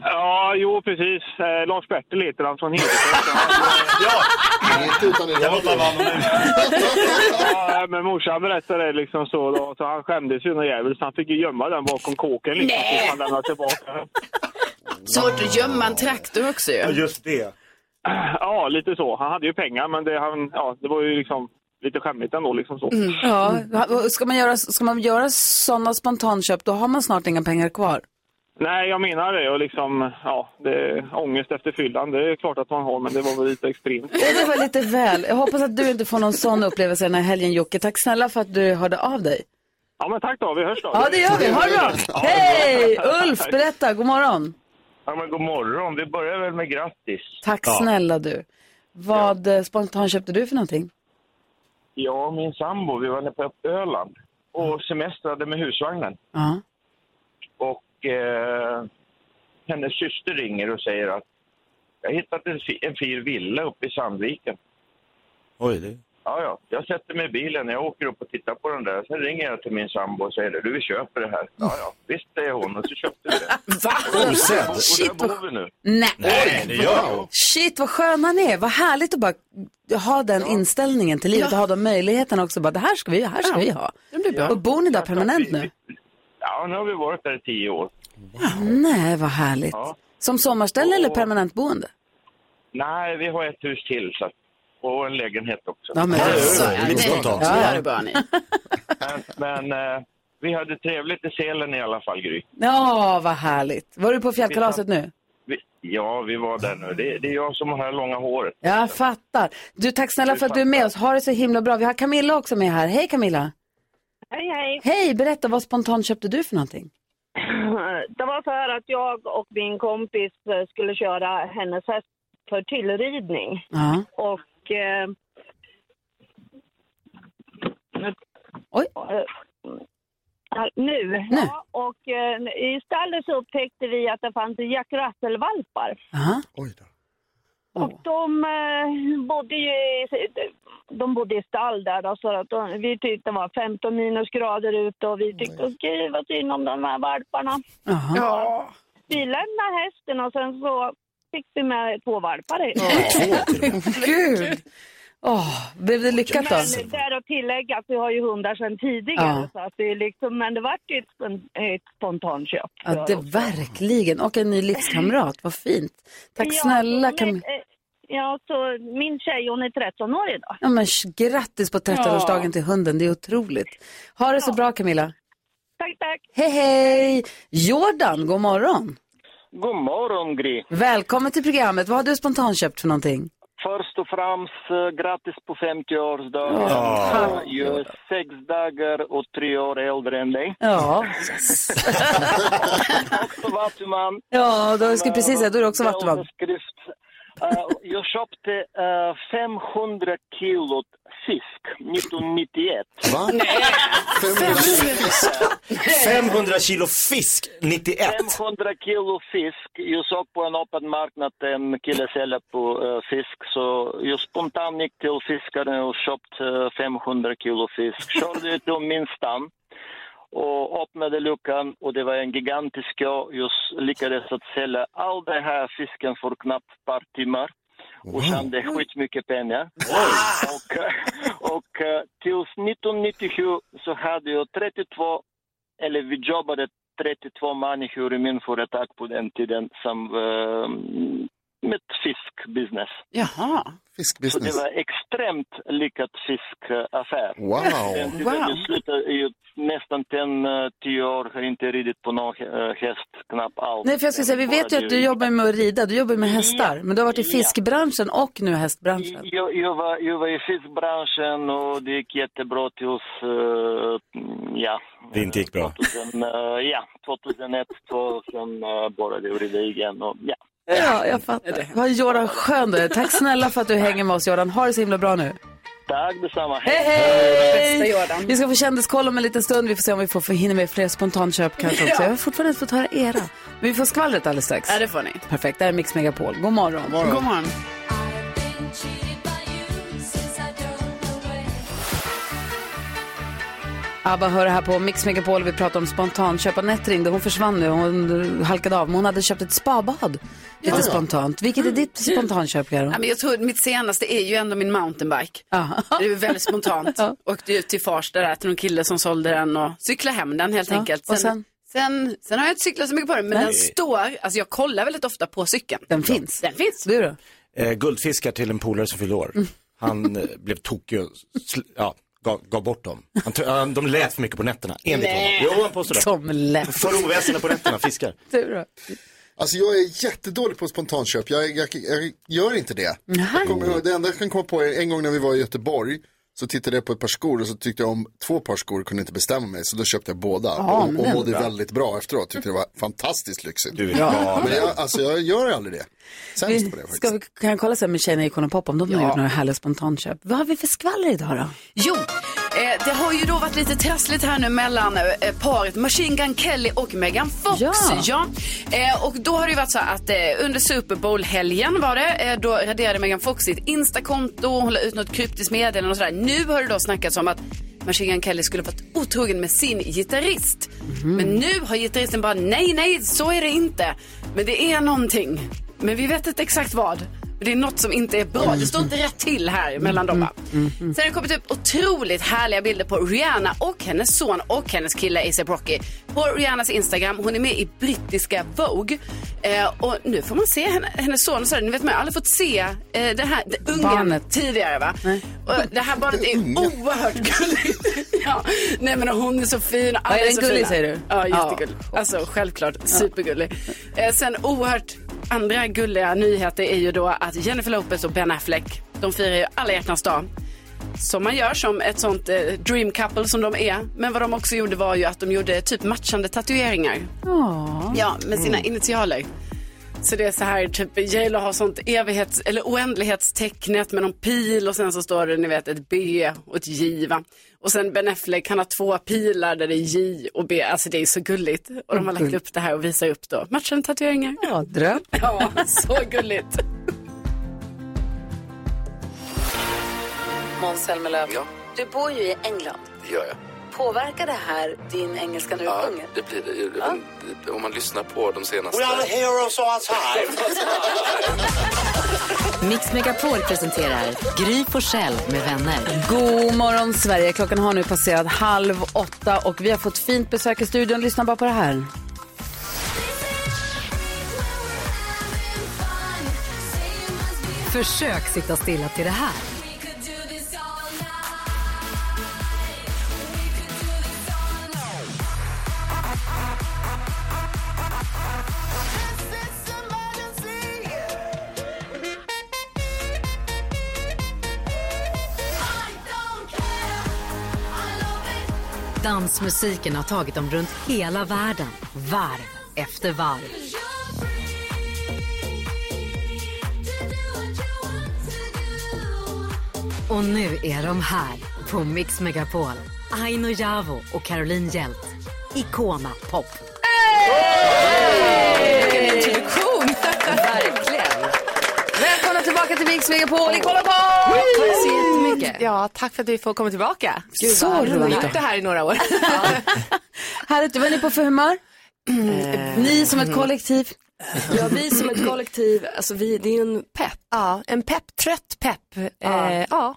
S9: Ja, jo precis. Eh, Lars-Bertil heter han från Hedefors.
S3: Ja,
S4: Det är inte utan det
S3: jag var bara
S4: radio.
S3: vann nu.
S9: Ja, men morsan berättade det liksom så då, så han skämdes ju något jävligt så han fick ju gömma den bakom kåken liksom tills han lämnade tillbaka den.
S6: Svårt att gömma en traktor också
S3: Ja,
S6: ju.
S3: just det.
S9: Ja, lite så. Han hade ju pengar men det, han, ja, det var ju liksom lite skämmigt ändå liksom så.
S1: Mm.
S6: Mm,
S1: Ja, vad- ska man göra, ska man göra sådana spontanköp, då har man snart inga pengar kvar.
S9: Nej, jag menar det och liksom, ja, det, ångest efter fyllan, det är klart att man har men det var väl lite extremt.
S1: Ja, Det var lite väl. Jag hoppas att du inte får någon sån upplevelse den här helgen, Jocke. Tack snälla för att du hörde av dig.
S9: Ja, men tack då, vi hörs då.
S1: Ja, det gör vi. Ha det bra. Hej! Ulf, berätta. God morgon.
S9: Ja, men god morgon. Vi börjar väl med grattis.
S1: Tack snälla du. Vad eh, spontant köpte du för någonting?
S9: Jag och min sambo, vi var nere på Öland och semestrade med husvagnen.
S1: Ja.
S9: Och eh, hennes syster ringer och säger att jag har hittat en, fi- en fin villa uppe i Sandviken.
S3: Oj, det.
S9: Ja, ja, jag sätter mig i bilen jag åker upp och tittar på den där. Sen ringer jag till min sambo och säger du, vi köper det här. Ja, ja, visst säger hon och så köpte vi det.
S3: Osedd.
S9: Och där bor vi nu.
S1: Nej.
S3: Nej, det gör hon.
S1: Shit, vad skön han är. Vad härligt att bara ha den inställningen till livet och ha de möjligheterna också. Bara, det här ska vi, här ska vi ha.
S6: Det blir bra.
S1: Och bor ni där permanent nu?
S9: Ja, nu har vi varit där i tio år.
S1: Nej, vad härligt.
S9: Ja.
S1: Som sommarställe eller permanent boende?
S9: Nej, vi har ett hus till så att, och en lägenhet också.
S1: Ja, men,
S6: Så,
S3: Det är lite spontant.
S6: Ja, det är bra ni.
S9: Men, men eh, vi hade trevligt i Sälen i alla fall, Gry.
S1: ja, vad härligt. Var du på fjällkalaset nu?
S9: Vi, ja, vi var där nu. Det, det är jag som har det här långa håret.
S1: Jag fattar. Du, tack snälla för att du är med oss. Ha det så himla bra. Vi har Camilla också med här. Hej Camilla.
S12: Hej, hej.
S1: Hej, berätta vad spontant köpte du för någonting?
S12: Det var så här att jag och min kompis eh, skulle köra hennes häst för tillridning.
S1: Ja.
S12: Och... Eh, nu-
S1: Oj.
S12: Eh, här, Nu. nu. Ja, och eh, i stallet så upptäckte vi att det fanns Jack Russell-valpar.
S1: Aha.
S4: Oj då.
S12: Och de eh, bodde ju i, de bodde i stall där då, så att de, vi tyckte det var 15 minusgrader ute och vi tyckte åh gud vad synd om de här valparna.
S1: Aha.
S12: Vi lämnade hästen och sen så fick vi med två valpar i.
S3: Två till och med.
S1: Gud. Åh, blev det lyckat då?
S12: Men där att tillägga att vi har ju hundar sedan tidigare
S1: Ja.
S12: så att det är liksom, men det vart ju ett, spon- ett spontanköp.
S1: Ja, det verkligen. Och en ny livskamrat. Vad fint. Tack
S12: Ja,
S1: snälla
S12: men,
S1: Camilla.
S12: eh, Ja, så min tjej hon är 13 år idag.
S1: Ja, men sh- grattis på 13-årsdagen till hunden. Det är otroligt. Ha det så bra Camilla.
S12: Tack, tack.
S1: Hej, hej. Jordan, god morgon.
S9: God morgon, Gry.
S1: Välkommen till programmet. Vad har du spontant köpt för någonting?
S7: Först och främst, eh, grattis på 50-årsdagen.
S3: Ja.
S7: Jag är sex dagar och tre år äldre än dig.
S1: Ja, yes.
S7: Också vattuman.
S1: ja då ska jag precis säga, då är det också
S7: Eh,
S1: vattenman.
S7: underskrift. Eh, jag köpte eh, 500 kilo fisk 1991.
S4: Va? 500
S3: 500 kilo fisk 91.
S7: 500 kilo fisk. Jag såg på en öppen marknad en kille sälja på eh, fisk. Så jag spontant gick till fiskaren och köpte eh, 500 kilo fisk. Körde ut till min stam och öppnade luckan och det var en gigantisk kö. Jag s- lyckades att sälja all den här fisken för knappt ett par timmar och tjänade skitmycket pengar. Och, eh, och eh, tills 1997 så hade jag 32 eller vi jobbade 32 människor i min företag på den tiden som eh, med fiskbusiness.
S6: Jaha.
S7: Så det
S4: Fiskbusiness.
S7: var extremt lyckad fiskaffär.
S4: Wow.
S7: Wow.
S6: Wow.
S7: Jag slutade ju nästan 10 år, har inte ridit på någon eh, häst, knappt alls.
S1: Nej, för jag skulle säga, vi vet ju att du jobbar med att rida, du jobbar med hästar. Men du har varit i fiskbranschen och nu hästbranschen.
S7: Jag, jag, var, jag var i fiskbranschen och det gick jättebra tills, eh, ja.
S3: Det inte gick bra.
S7: 2000, eh, ja, 2001, 2000 uh, började jag rida igen och ja.
S1: Ja, jag fattar. Vad Jordan skön du är. Tack snälla för att du hänger med oss Jordan. Ha det så himla bra nu.
S7: Tack detsamma.
S1: Hej, hej!
S6: Bästa Jordan.
S1: Vi ska få kändiskoll om en liten stund. Vi får se om vi får, får hinna med fler spontanköp kanske också. Jag har fortfarande inte fått höra era. Men vi får skvallret alldeles strax.
S6: Ja, det får ni.
S1: Perfekt, det här är Mix Megapol. God morgon. God
S6: God morgon.
S5: I've been cheated by you since I don't know when.
S1: Abba hör här på Mix Megapol. Vi pratar om spontanköp. Anette ringde. Hon försvann nu. Hon halkade av. Men hon hade köpt ett spabad. Lite spontant. Vilket är ditt spontanköp, Karo?
S6: Ja, men jag tror att mitt senaste är ju ändå min mountainbike.
S1: Ja.
S6: Det är ju väldigt spontant. Åkte ut till Farsta där till någon kille som sålde den och cyklade hem den helt
S1: Ja,
S6: enkelt.
S1: och
S6: sen?
S1: sen?
S6: Sen, sen har jag inte cyklat så mycket på den, men den står, alltså jag kollar väldigt ofta på cykeln.
S1: Den finns.
S6: Den finns.
S1: Du då?
S3: Eh,
S1: Mm.
S3: guldfiskar till en polare som fyllde år. Han eh, blev tokig och sl- ja, gav, gav bort dem. Han tro- han- de lät för mycket på nätterna, enligt honom. Jo, han påstår det.
S1: Som lätt.
S3: För oväsen på nätterna, fiskar.
S1: Du då?
S4: Alltså jag är jättedålig på spontanköp. Jag, jag, jag gör inte det. Jag kommer, ihåg- det enda jag kan komma på är en gång när vi var i Göteborg så tittade jag på ett par skor och så tyckte jag om två par skor och kunde inte bestämma mig så då köpte jag båda och, och mådde väldigt bra efteråt. Tyckte det var fantastiskt lyxigt.
S3: Du är galen.
S4: Men jag, alltså jag gör aldrig det. Sämst på det
S1: Vi,
S4: faktiskt.
S1: ska vi, kan jag kolla sen med tjejerna i Icon och Pop om de har gjort några härliga spontanköp? Vad har vi för skvaller idag då?
S6: Jo, eh, det har ju då varit lite trassligt här nu mellan eh, paret Machine Gun Kelly och Megan Fox.
S1: Ja.
S6: Ja. Eh, och då har det ju varit så att eh, under Super Bowl-helgen var det, eh, då raderade Megan Fox sitt Instakonto, hon la ut något kryptiskt meddelande och sådär. Nu har det då snackats om att Machine Gun Kelly skulle varit otrogen med sin gitarrist.
S13: Mm.
S6: Men nu har gitarristen bara nej, nej, så är det inte. Men det är någonting. Men vi vet inte exakt vad. Men Det är något som inte är bra. Det står inte rätt till här mellan
S5: Mm,
S6: dem. va?
S13: Mm.
S6: Mm. Sen har det kommit upp otroligt härliga bilder på Rihanna och hennes son och hennes kille A$AP Rocky. På Rihannas Instagram. Hon är med i brittiska Vogue. Eh, och nu får man se henne, hennes son. och Så här, ni vet, man har aldrig fått se eh, det här det ungen
S1: Barnet.
S6: tidigare. Va? Och det här barnet är oerhört gulligt. ja. Nej, men hon är så fin. Alla
S1: är den
S6: så
S1: gullig,
S6: fina.
S1: säger du?
S6: Ja, jättegullig. Alltså självklart supergullig. Eh, sen oerhört andra gulliga nyheter är ju då att Jennifer Lopez och Ben Affleck, de firar ju alla hjärtans dag. Som man gör som ett sånt eh, dream couple som de är. Men vad de också gjorde var ju att de gjorde typ matchande tatueringar. Ja, med sina initialer. Så det är så här, typ J.Lo har sånt evighets eller oändlighetstecknet med någon pil och sen så står det, ni vet, ett B och ett J va. Och sen Ben Affleck, han har två pilar där det är J och B. Alltså det är så gulligt. Och de har lagt upp det här och visar upp då matchande tatueringar.
S1: Ja, dröm.
S6: Ja, så gulligt.
S13: Mm.
S1: Måns Zelmerlöw,
S7: Ja.
S1: du bor ju i England.
S7: Det gör jag.
S1: Påverkar det här din engelska när du
S7: Ja,
S1: sjunger?
S7: det blir det. Om man lyssnar på de senaste...
S3: heroes all time.
S2: Mix Megapol presenterar Gry Forssell med vänner.
S1: God morgon Sverige, klockan har nu passerat halv åtta och vi har fått fint besök i studion. Lyssna bara på det här.
S2: Försök sitta stilla till det här. Dansmusiken har tagit dem runt hela världen, varv efter varv. Och nu är de här på Mix Megapol. Aino Javo och Caroline Hjält. Icona Pop.
S1: Vilken introduktion! Verkligen. Välkomna tillbaka till Mix Megapol i Kolla på!
S13: Tack så jättemycket. Ja, tack för att vi får komma tillbaka.
S1: Gud, Så vad roligt.
S13: Vi har gjort det här i några år.
S1: Härligt, vad är ni på för humör? Ni som ett kollektiv.
S14: Eh, mm. Ja, vi som ett kollektiv, alltså vi, det är ju en pepp.
S13: Ja, en pepp, trött pepp. Ja.
S14: Mm.
S13: Eh, ja.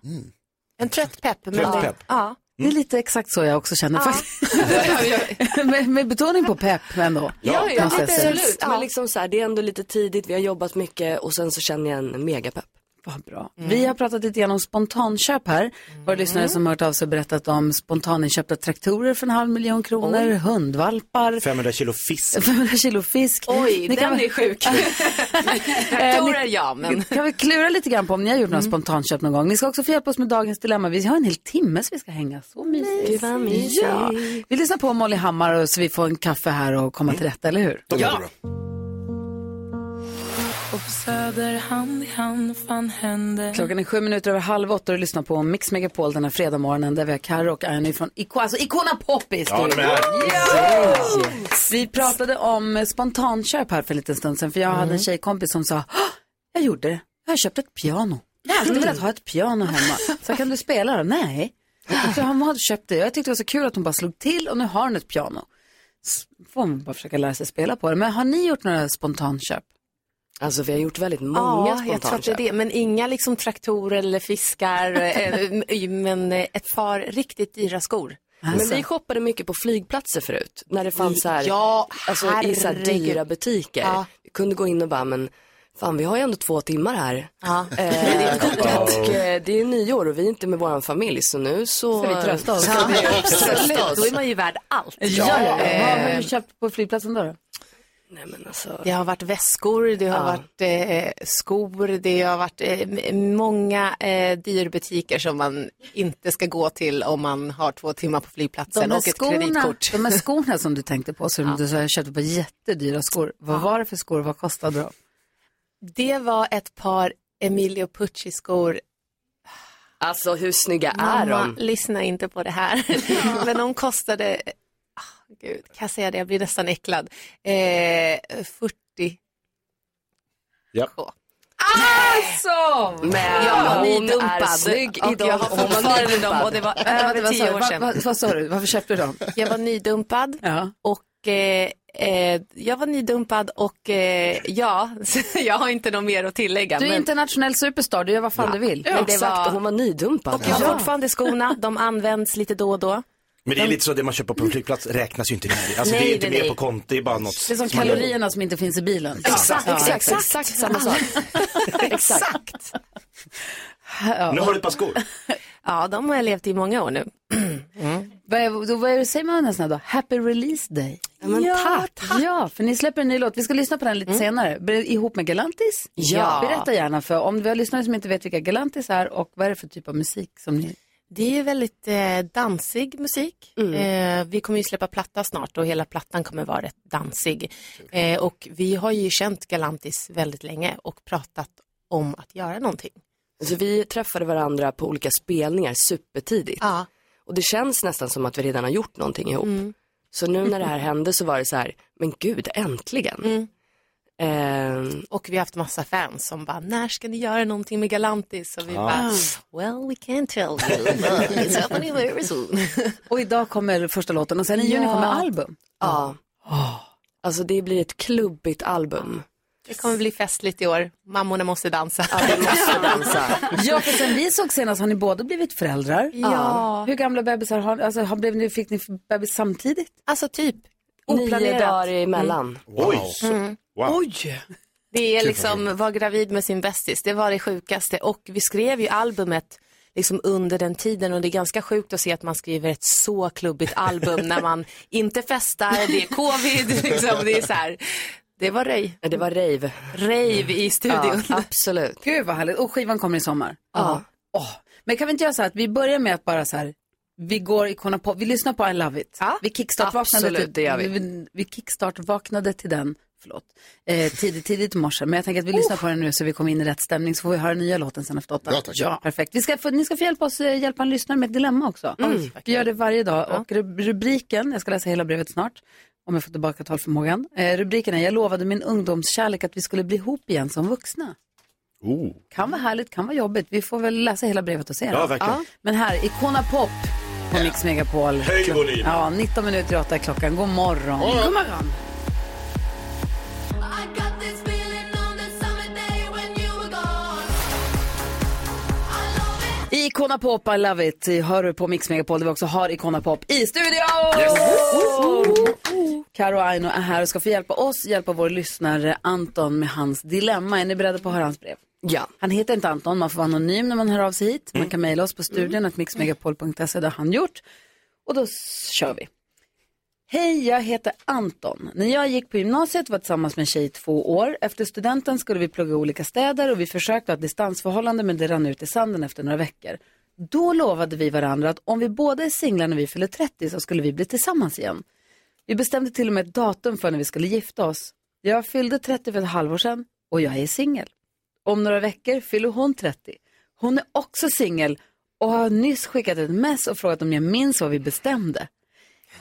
S13: En trött pepp. men-
S3: Trött pepp.
S13: Ja.
S1: Det är lite exakt så jag också känner faktiskt. med, med betoning på pepp ändå.
S14: Ja, ja,
S1: måste jag
S14: lite,
S1: säga.
S14: absolut. Men liksom så här, det är ändå lite tidigt, vi har jobbat mycket och sen så känner jag en megapepp.
S1: Vad bra. Vi har pratat lite grann om spontanköp här. Våra lyssnare som hört av sig och berättat om spontaninköpta traktorer för en halv miljon kronor, hundvalpar,
S3: 500 kilo fisk.
S1: 500 kilo fisk.
S13: Oj,
S1: Ni
S13: den
S1: kan-
S13: är sjuk. Traktorer ja, men.
S1: Eh, kan vi klura lite grann på om ni har gjort några spontanköp någon gång. Ni ska också få hjälpa oss med dagens dilemma. Vi har en hel timme så vi ska hänga. Så mysigt. Ja. Vi lyssnar på Molly Hammar och så vi får en kaffe här och komma till rätta, eller hur?
S4: De ja.
S1: Klockan är sju minuter över halv åtta och du lyssnar på Mix Megapol den här fredagmorgonen där vi har Carro och Annie från Ico, alltså Icona Pop i studion. Ja! Vi pratade om eh, spontanköp här för en liten stund sedan för jag
S14: Mm.
S1: hade en tjejkompis som sa, "Hå! jag gjorde det, jag har köpt ett piano. Jag har alltid velat ha ett piano hemma. Så kan du spela då? Nej. Så hon hade köpt det. Jag tyckte det var så kul att hon bara slog till och nu har hon ett piano. Så får hon bara försöka lära sig spela på det. Men har ni gjort några spontanköp?
S14: Alltså vi har gjort väldigt många
S13: Ja, jag tror att det är
S14: spontanköp.
S13: det. Men inga liksom traktorer eller fiskar. eh, men eh, ett par riktigt dyra skor.
S14: Men vi shoppade mycket på flygplatser förut, när det fanns så här,
S13: Ja,
S14: alltså, i så här
S13: herregud.
S14: dyra butiker.
S13: Ja.
S14: Vi kunde gå in och bara, men fan vi har ju ändå två timmar här.
S13: Ja.
S14: Eh, och, eh, det är nyår och vi är inte med vår familj så nu så...
S1: Ska vi trösta oss?
S14: Ska vi trösta
S13: Absolut,
S14: oss?
S13: då är man ju värd allt.
S1: Vad har
S13: Eh,
S1: du köpt på flygplatsen då? då?
S14: Nej men alltså,
S13: Det har varit väskor, det har varit eh, skor, det har varit eh, m- många eh, dyrbutiker som man inte ska gå till om man har två timmar på flygplatsen
S1: där
S13: och ett kreditkort.
S1: de här skorna som du tänkte på, som du sa, jag köpte på jättedyra skor. Vad var det för skor och vad kostade de?
S13: Det var ett par Emilio Pucci-skor.
S14: alltså hur snygga är
S13: Mamma,
S14: de?
S13: lyssna inte på det här. Men de kostade, ah, gud, kan jag säga det, jag blir nästan äcklad, eh, 40
S3: Ja.
S14: Alltså! Men
S13: Jag var
S14: hon är
S13: nydumpad
S14: snygg
S13: och
S14: idag.
S13: jag har fortfarande dem och det var över
S1: vad, sa
S13: tio
S1: du?
S13: år
S1: Va-
S13: sedan.
S1: va- vad sa du? Varför köpte du dem?
S13: Jag var nydumpad
S1: Ja.
S13: och eh, eh, jag var nydumpad och eh, ja, jag har inte något mer att tillägga.
S1: Du är
S13: men,
S1: internationell superstar, du gör vad fan du vill.
S13: men det
S14: Exakt, och
S13: var,
S14: hon var nydumpad.
S13: och jag har fortfarande skorna, de används lite då och då.
S3: Men det är lite så, det man köper på en flygplats räknas ju inte med. Alltså det
S13: Nej,
S3: är inte
S13: nej,
S3: med
S13: nej.
S3: på konto, det är bara något.
S1: Det är som
S3: man gör.
S1: kalorierna som inte finns i bilen.
S14: Exakt, exakt, exakt samma sak.
S13: Exakt.
S3: Nu har du ett par skor.
S13: Ja, de har jag levt i många år nu.
S3: Mm.
S1: Vad, är, då, vad är det, säger man nästan då? Happy release day. Ja,
S14: men tack. Mm.
S1: Ja, för ni släpper en ny låt. Vi ska lyssna på den lite senare. Ber- Ihop med Galantis.
S13: Ja.
S1: Berätta gärna för om vi har lyssnare som inte vet vilka Galantis är och vad är det för typ av musik som ni...
S13: Det är ju väldigt eh, dansig musik.
S14: Mm.
S13: Eh, vi kommer ju släppa platta snart och hela plattan kommer vara rätt dansig. Eh, och vi har ju känt Galantis väldigt länge och pratat om att göra någonting.
S14: Alltså, vi träffade varandra på olika spelningar supertidigt.
S13: Ja.
S14: Och det känns nästan som att vi redan har gjort någonting ihop. Så nu när det här hände så var det så här, men gud, äntligen. Ehm,
S13: Och vi har haft massa fans som bara, när ska ni göra någonting med Galantis? Och vi bara, well we can't tell you, but it's happening very soon.
S1: Och idag kommer första låten och sen i juni
S13: Ja.
S1: kommer album.
S14: ja. Alltså det blir ett klubbigt album.
S13: Det kommer bli festligt i år, mammorna måste dansa.
S14: Måste dansa.
S1: Ja, för sen vi såg senast har ni båda blivit föräldrar.
S13: Ja,
S1: Hur gamla bebisar har ni? Alltså, har, blev ni, fick ni bebis samtidigt?
S13: alltså typ
S14: Nio
S13: oplanerat.
S14: dagar emellan.
S13: Mm.
S3: Oj. Mm. Wow.
S13: Det är liksom, var gravid med sin bästis, det var det sjukaste. Och vi skrev ju albumet liksom under den tiden och det är ganska sjukt att se att man skriver ett så klubbigt album när man inte festar, det är covid, liksom, det är så här. Det var röj,
S14: Det var rave.
S13: rave i
S14: Ja,
S13: studion.
S14: absolut.
S1: Gud vad härligt. Och skivan kommer i sommar.
S14: Ja.
S1: Åh, Men kan vi inte göra så här att vi börjar med att bara så här Vi går ikona på, vi lyssnar på I Love It. vi kickstart-vaknade
S14: absolut, det gör vi.
S1: vi, vi kickstart-vaknade till den, förlåt, eh, tidigt, tidigt i morse. Men jag tänker att vi
S14: Oh.
S1: lyssnar på den nu så vi kommer in i rätt stämning så får vi höra nya låten sen efter åtta.
S5: Ja, tack.
S1: Perfekt. Vi ska få, ni ska få hjälpa oss, eh, hjälpa en lyssnare med ett dilemma också.
S5: Mm.
S1: Vi gör det varje dag och rub- rubriken, jag ska läsa hela brevet snart. Om jag får tillbaka talförmågan. Eh, rubriken är Jag lovade min ungdomskärlek att vi skulle bli ihop igen som vuxna.
S4: Oh.
S1: Kan vara härligt, kan vara jobbigt. Vi får väl läsa hela brevet och se.
S5: Ja,
S1: då.
S5: verkligen.
S1: Men här, Icona Pop på Mix Megapol.
S5: Höj volym.
S1: Ja, 19 minuter i 8 klockan. God morgon.
S5: God I
S1: morgon.
S5: got this feeling on the summer day when you were gone.
S1: Icona Pop, I love it. Hör du på Mix Megapol där vi också har Icona Pop i studion.
S5: Yes.
S1: Karo och Aino är här och ska få hjälpa oss, hjälpa vår lyssnare Anton med hans dilemma. Är ni beredda på att höra hans brev?
S14: Ja.
S1: Han heter inte Anton, man får vara anonym när man hör av sig hit. Man
S14: Mm.
S1: kan mejla oss på studion, att mixmegapol.se, det har han gjort. Och då s- kör vi. Hej, jag heter Anton. När jag gick på gymnasiet var jag tillsammans med en tjej i två år. Efter studenten skulle vi plugga i olika städer och vi försökte ha ett distansförhållande men det rann ut i sanden efter några veckor. Då lovade vi varandra att om vi båda är singlar när vi fyller 30 så skulle vi bli tillsammans igen. Vi bestämde till och med ett datum för när vi skulle gifta oss. Jag fyllde 30 för ett halvår sedan och jag är singel. Om några veckor fyller hon 30. Hon är också singel och har nyss skickat ett mess och frågat om jag minns vad vi bestämde.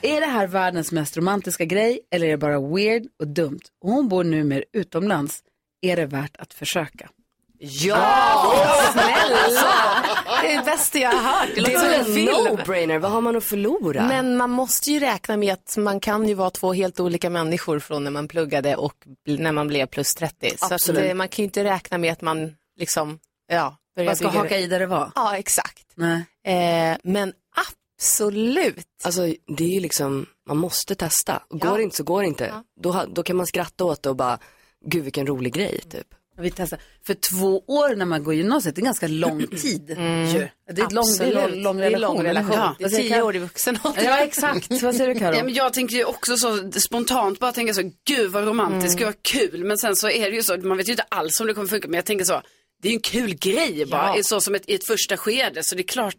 S1: Är det här världens mest romantiska grej eller är det bara weird och dumt? Och hon bor numera utomlands. Är det värt att försöka?
S14: Ja!
S13: Snälla! Det är det bästa jag har hört.
S14: Det låter som en no-brainer. Vad har man att förlora?
S13: Men man måste ju räkna med att man kan ju vara två helt olika människor från när man pluggade och bl- när man blev plus 30. Så att
S1: Absolut.
S13: eh, man kan ju inte räkna med att man liksom, ja, börjar
S1: Man ska
S13: bygga
S1: haka i där det var.
S13: Ja, exakt.
S1: Nej.
S13: Eh, men absolut.
S14: Alltså det är ju liksom, man måste testa. Går det inte så går det inte. Då, ha- då kan man skratta åt det och bara, gud vilken rolig grej typ.
S1: Mm. Vi testar. För två år när man går gymnasiet, det är ganska lång tid.
S6: Mm.
S1: ju. Det är ett lång, det är en lång relation.
S13: Det är lång Mm. relation.
S1: Ja.
S13: Det är tio år i vuxen ålder.
S1: Ja, exakt. Vad säger du Karo?
S6: Ja, men jag tänker ju också så spontant bara tänka så, gud vad
S1: Mm.
S6: romantiskt, gud vad kul. Men sen så är det ju så, man vet ju inte alls om det kommer funka, men jag tänker så, det är ju en kul grej bara,
S1: Ja.
S6: i så som ett, i ett första skede. Så det är klart,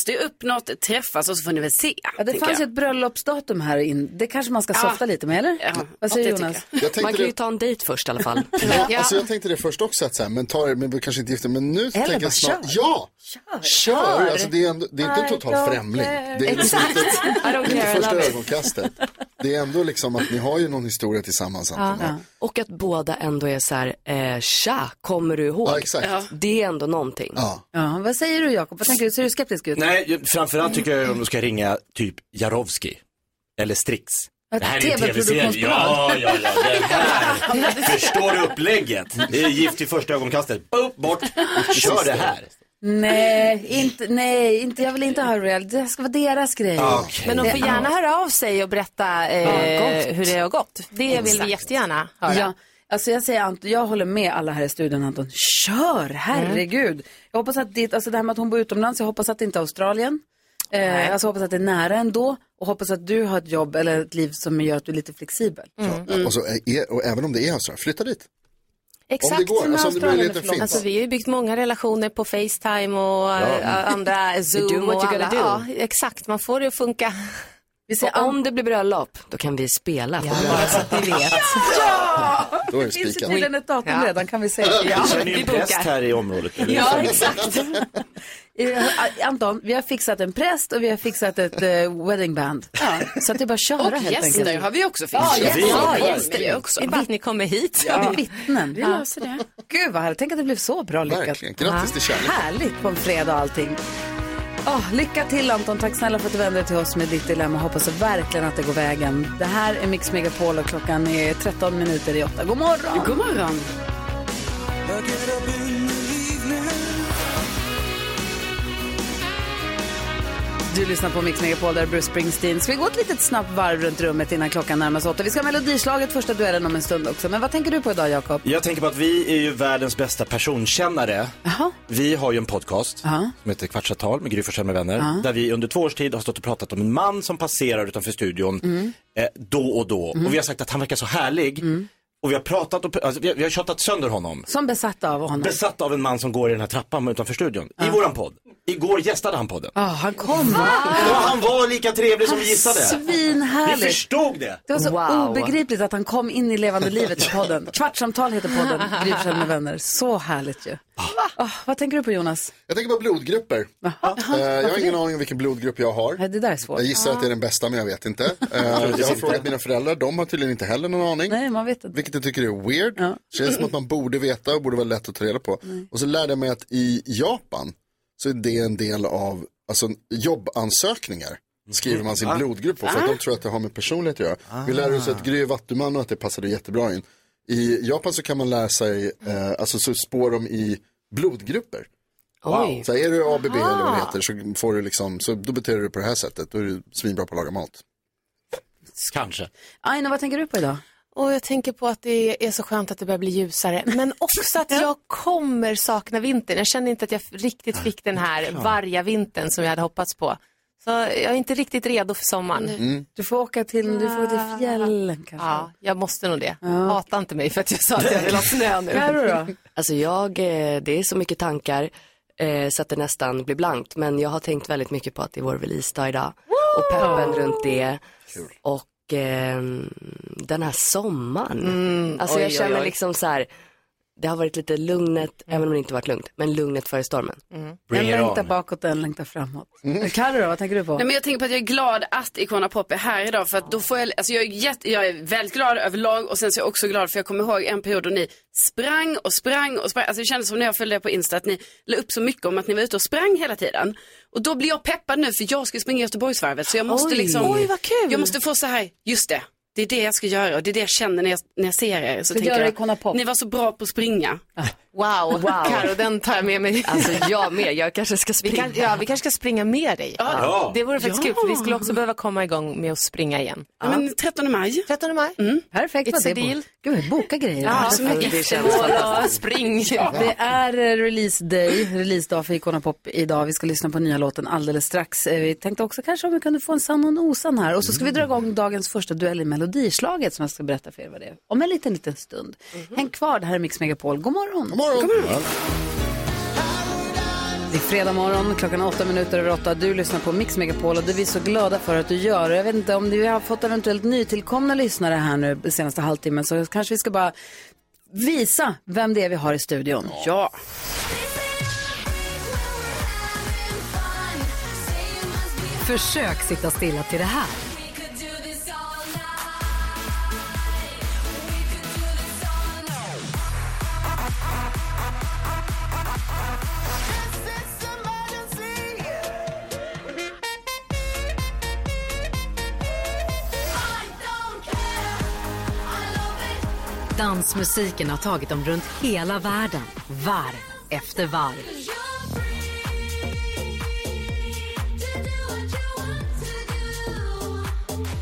S6: stå upp något, träffas och så får ni väl se.
S1: Ja, det
S6: tänker
S1: fanns ju
S6: jag.
S1: ett bröllopsdatum här in. Det kanske man ska
S6: Ja.
S1: softa lite med, eller? Vad säger
S6: det tycker
S1: Jonas?
S4: Jag tänkte Man kan ju det-
S14: ta en dejt först i alla fall.
S4: Ja. Alltså jag tänkte det först också, att så här, men ta det, men vi kanske inte gifta men nu
S1: Eller
S4: tänker
S1: bara
S4: jag snart,
S1: kör.
S4: ja,
S1: kör,
S4: kör. Alltså, det, är ändå, det är inte
S1: I
S4: en
S1: don't
S4: total främling.
S1: care.
S4: Det är liksom
S1: Exakt.
S4: inte,
S1: I don't
S4: det är inte
S1: care, I
S4: första
S1: love it.
S4: ögonkastet. Det är ändå liksom att ni har ju någon historia tillsammans. Anton.
S14: Ja. Och att båda ändå är så här, eh, tja, kommer du ihåg?
S4: Ja, exakt. Ja.
S14: Det är ändå någonting.
S1: Ja, vad säger du Jakob? Vad tänker du? Ser du skeptisk ut?
S3: Nej, ju- framförallt tycker jag om du ska ringa typ Jarowski eller Strix.
S1: Ett
S3: Det här är ju en
S1: TV-produktionsbolag.
S3: tv-serie. Ja, ja, ja. Den här. Förstår du upplägget? Det är gift i första ögonkastet. Boop, bort. Kör det här.
S1: Nej, inte, nej inte, jag vill inte ha real. Det ska vara deras grej.
S3: Okej.
S13: Men de får gärna höra av sig och berätta
S1: Ja,
S13: eh,
S1: gott.
S13: hur det har gått. Det vill
S1: Exakt.
S13: vi jättegärna höra.
S1: Ja, alltså jag säger Anton, jag håller med alla här i studion Anton. Kör, herregud. Jag hoppas att ditt, alltså det här med att hon bor utomlands, jag hoppas att det inte är Australien. Eh, alltså jag hoppas att det är nära ändå och hoppas att du har ett jobb eller ett liv som gör att du är lite flexibel. Mm.
S4: Och, så, är- och även om det är så, här, flytta dit.
S13: Exakt
S4: Om det går,
S13: som
S4: alltså om det
S13: Australien
S4: möjligheten
S13: förlåt.
S4: finns.
S13: Alltså, vi har ju byggt många relationer på Facetime och eh, andra
S14: You
S13: Zoom
S14: do what
S13: och
S14: you gotta
S13: alla.
S14: do.
S13: Ja, exakt, man får det att funka.
S14: Och om det blir bröllop, då kan vi spela. Ja, bara så att ni vet.
S4: Då är det
S1: Det finns ju
S4: spikat.
S1: tydligen ett datum
S14: Ja.
S1: redan kan vi säga.
S3: Känner ni en präst här i området? eller?
S1: Ja, exakt. Eh, Anton, vi har fixat en präst och vi har fixat ett eh, weddingband. Så att det är bara att köra
S6: Och
S1: helt
S6: gäster
S1: enkelt.
S6: har vi också
S1: Ja,
S6: fixat.
S1: gäster.
S6: Ja,
S1: Ja,
S6: gäster vi också.
S1: Det är bara att ni kommer hit.
S6: Ja.
S1: Vi är vittnen.
S6: Vi löser det.
S1: Gud vad härligt. Tänk att det blev så bra lyckat.
S4: Verkligen. Grattis till kärleken.
S1: Härligt på en fredag och allting. Åh, lycka till Anton. Tack snälla för att du vände dig till oss med ditt dilemma. Hoppas verkligen att det går vägen. Det här är Mix Megapol och klockan är 13 minuter i 8. God morgon!
S6: God morgon!
S1: Du lyssnar på Mix Megapol, där är Bruce Springsteen. Ska vi gå ett litet snabbt varv runt rummet innan klockan närmar sig åtta? Vi ska ha melodislaget, första duellen om en stund också. Men vad tänker du på idag, Jakob?
S3: Jag tänker på att vi är ju världens bästa personkännare. Vi har ju en podcast som heter Kvartsatal med Gry Forssell med vänner.
S5: Ja.
S3: Där vi under två års tid har stått och pratat om en man som passerar utanför studion
S1: Mm.
S6: Mm.
S3: eh, då och då. Och vi har sagt att han verkar så härlig.
S1: Mm.
S3: Och vi har pratat och alltså, vi, har, vi har tjatat sönder honom.
S1: Som besatt av honom.
S3: Besatt av en man som går i den här trappan utanför studion. I våran podd. Igår gästade han podden.
S1: Ja, han kom. va?
S3: Ja, han var lika trevlig som vi gissade.
S1: Svinhärligt.
S3: Vi förstod det.
S1: Det var så obegripligt att han kom in i levande livet i podden. Kvartsamtal heter podden, Gry Forssell med vänner. Så härligt ju. Ah, vad tänker du på Jonas?
S4: Jag tänker på blodgrupper. Eh, jag har ingen aning om vilken blodgrupp jag har.
S1: Det där är svårt.
S4: Jag gissar att det är den bästa, men jag vet inte. Eh, jag har frågat mina föräldrar, de har tydligen inte heller någon aning.
S1: Nej, man vet inte.
S4: Vilket jag tycker är weird. Känns som att man borde veta och borde vara lätt att ta reda på. Och så lärde jag mig att i Japan så är det en del av alltså, jobbansökningar. Skriver man sin
S3: Va?
S4: blodgrupp på för
S1: Ah.
S4: att de tror att det har med personlighet att göra. Vi lärde oss att Gry är vattuman och att det passade jättebra in. I Japan så kan man lära sig, eh, alltså så spår de i blodgrupper.
S14: Oj.
S4: Så här, är du ABB eller vad det heter så får du liksom, så då beter du dig på det här sättet. Då är du svinbra på att laga mat.
S3: Kanske.
S1: Aina, vad tänker du på idag?
S13: Och jag tänker på att det är så skönt att det börjar bli ljusare, men också att jag kommer sakna vintern. Jag känner inte att jag riktigt fick den här varga vintern som jag hade hoppats på. Så jag är inte riktigt redo för sommaren.
S1: Mm. Du får åka till, du får åka till fjällen kanske.
S13: Ja, jag måste nog det. Hata inte mig för att jag sa att jag vill ha snö nu.
S1: Karo då?
S14: Alltså jag, eh, det är så mycket tankar eh, så att det nästan blir blankt. Men jag har tänkt väldigt mycket på att det är vår releasedag idag. Och peppen runt det. Och eh, den här sommaren.
S1: Mm,
S14: alltså
S13: oj,
S14: jag
S13: oj,
S14: känner
S13: oj.
S14: liksom så här. Det har varit lite lugnet, även om det inte varit lugnt, men lugnet före stormen.
S1: En
S3: Bring it
S1: längtar
S3: on.
S1: bakåt, en längtar framåt. Carro då, vad tänker du på?
S6: Nej, men jag tänker på att jag är glad att Icona Pop är här idag för att då får jag, alltså jag är, jätte, jag är väldigt glad överlag och sen så är jag också glad för jag kommer ihåg en period då ni sprang och sprang och sprang. Alltså det kändes som när jag följde er på Insta att ni la upp så mycket om att ni var ute och sprang hela tiden. Och då blir jag peppad nu för jag ska ju springa Göteborgsvarvet så jag måste
S14: Oj.
S6: liksom,
S13: Oj, vad kul.
S6: jag måste få så här, just det, det är det jag ska göra och det är det jag känner när jag, när jag ser er. Så
S1: Ska
S6: tänker
S1: göra
S6: jag,
S1: Icona Pop.
S6: Ni var så bra på att springa.
S13: Wow, wow. Karo, den tar jag med mig.
S14: Alltså jag med, jag kanske ska
S13: Vi,
S14: springa.
S13: kan, ja, vi kanske ska springa med dig.
S3: Ja.
S13: Det vore faktiskt kul, för vi skulle också behöva komma igång med att springa igen.
S6: Ja. Men 13 maj. Mm.
S13: 13 maj.
S1: Perfekt var
S13: It's
S1: det.
S13: a deal.
S1: Bo- Gud, vi bokar grejer.
S13: Ja,
S1: Perfekt.
S14: Alltså, det känns
S13: Åh, spring.
S1: Det är eh, release day, release dag för Icona Pop idag. Vi ska lyssna på nya låten alldeles strax. Eh, Vi tänkte också kanske om vi kunde få en sann och en osann här. Och så ska vi dra igång dagens första duell i melodislaget som jag ska berätta för er vad det är. Om en liten, liten stund. Häng kvar, det här är Mix Megapol. God morgon!
S4: Mhm. God morgon!
S1: Det är fredag morgon, klockan är åtta minuter över åtta. Du lyssnar på Mix Megapol och det är vi så glada för att du gör. Och Jag vet inte om vi har fått eventuellt nytillkomna lyssnare här nu den senaste halvtimmen så kanske vi ska bara visa vem det är vi har i studion.
S6: Ja.
S2: Försök sitta stilla till det här. Dansmusiken har tagit dem runt hela världen, varv efter varv.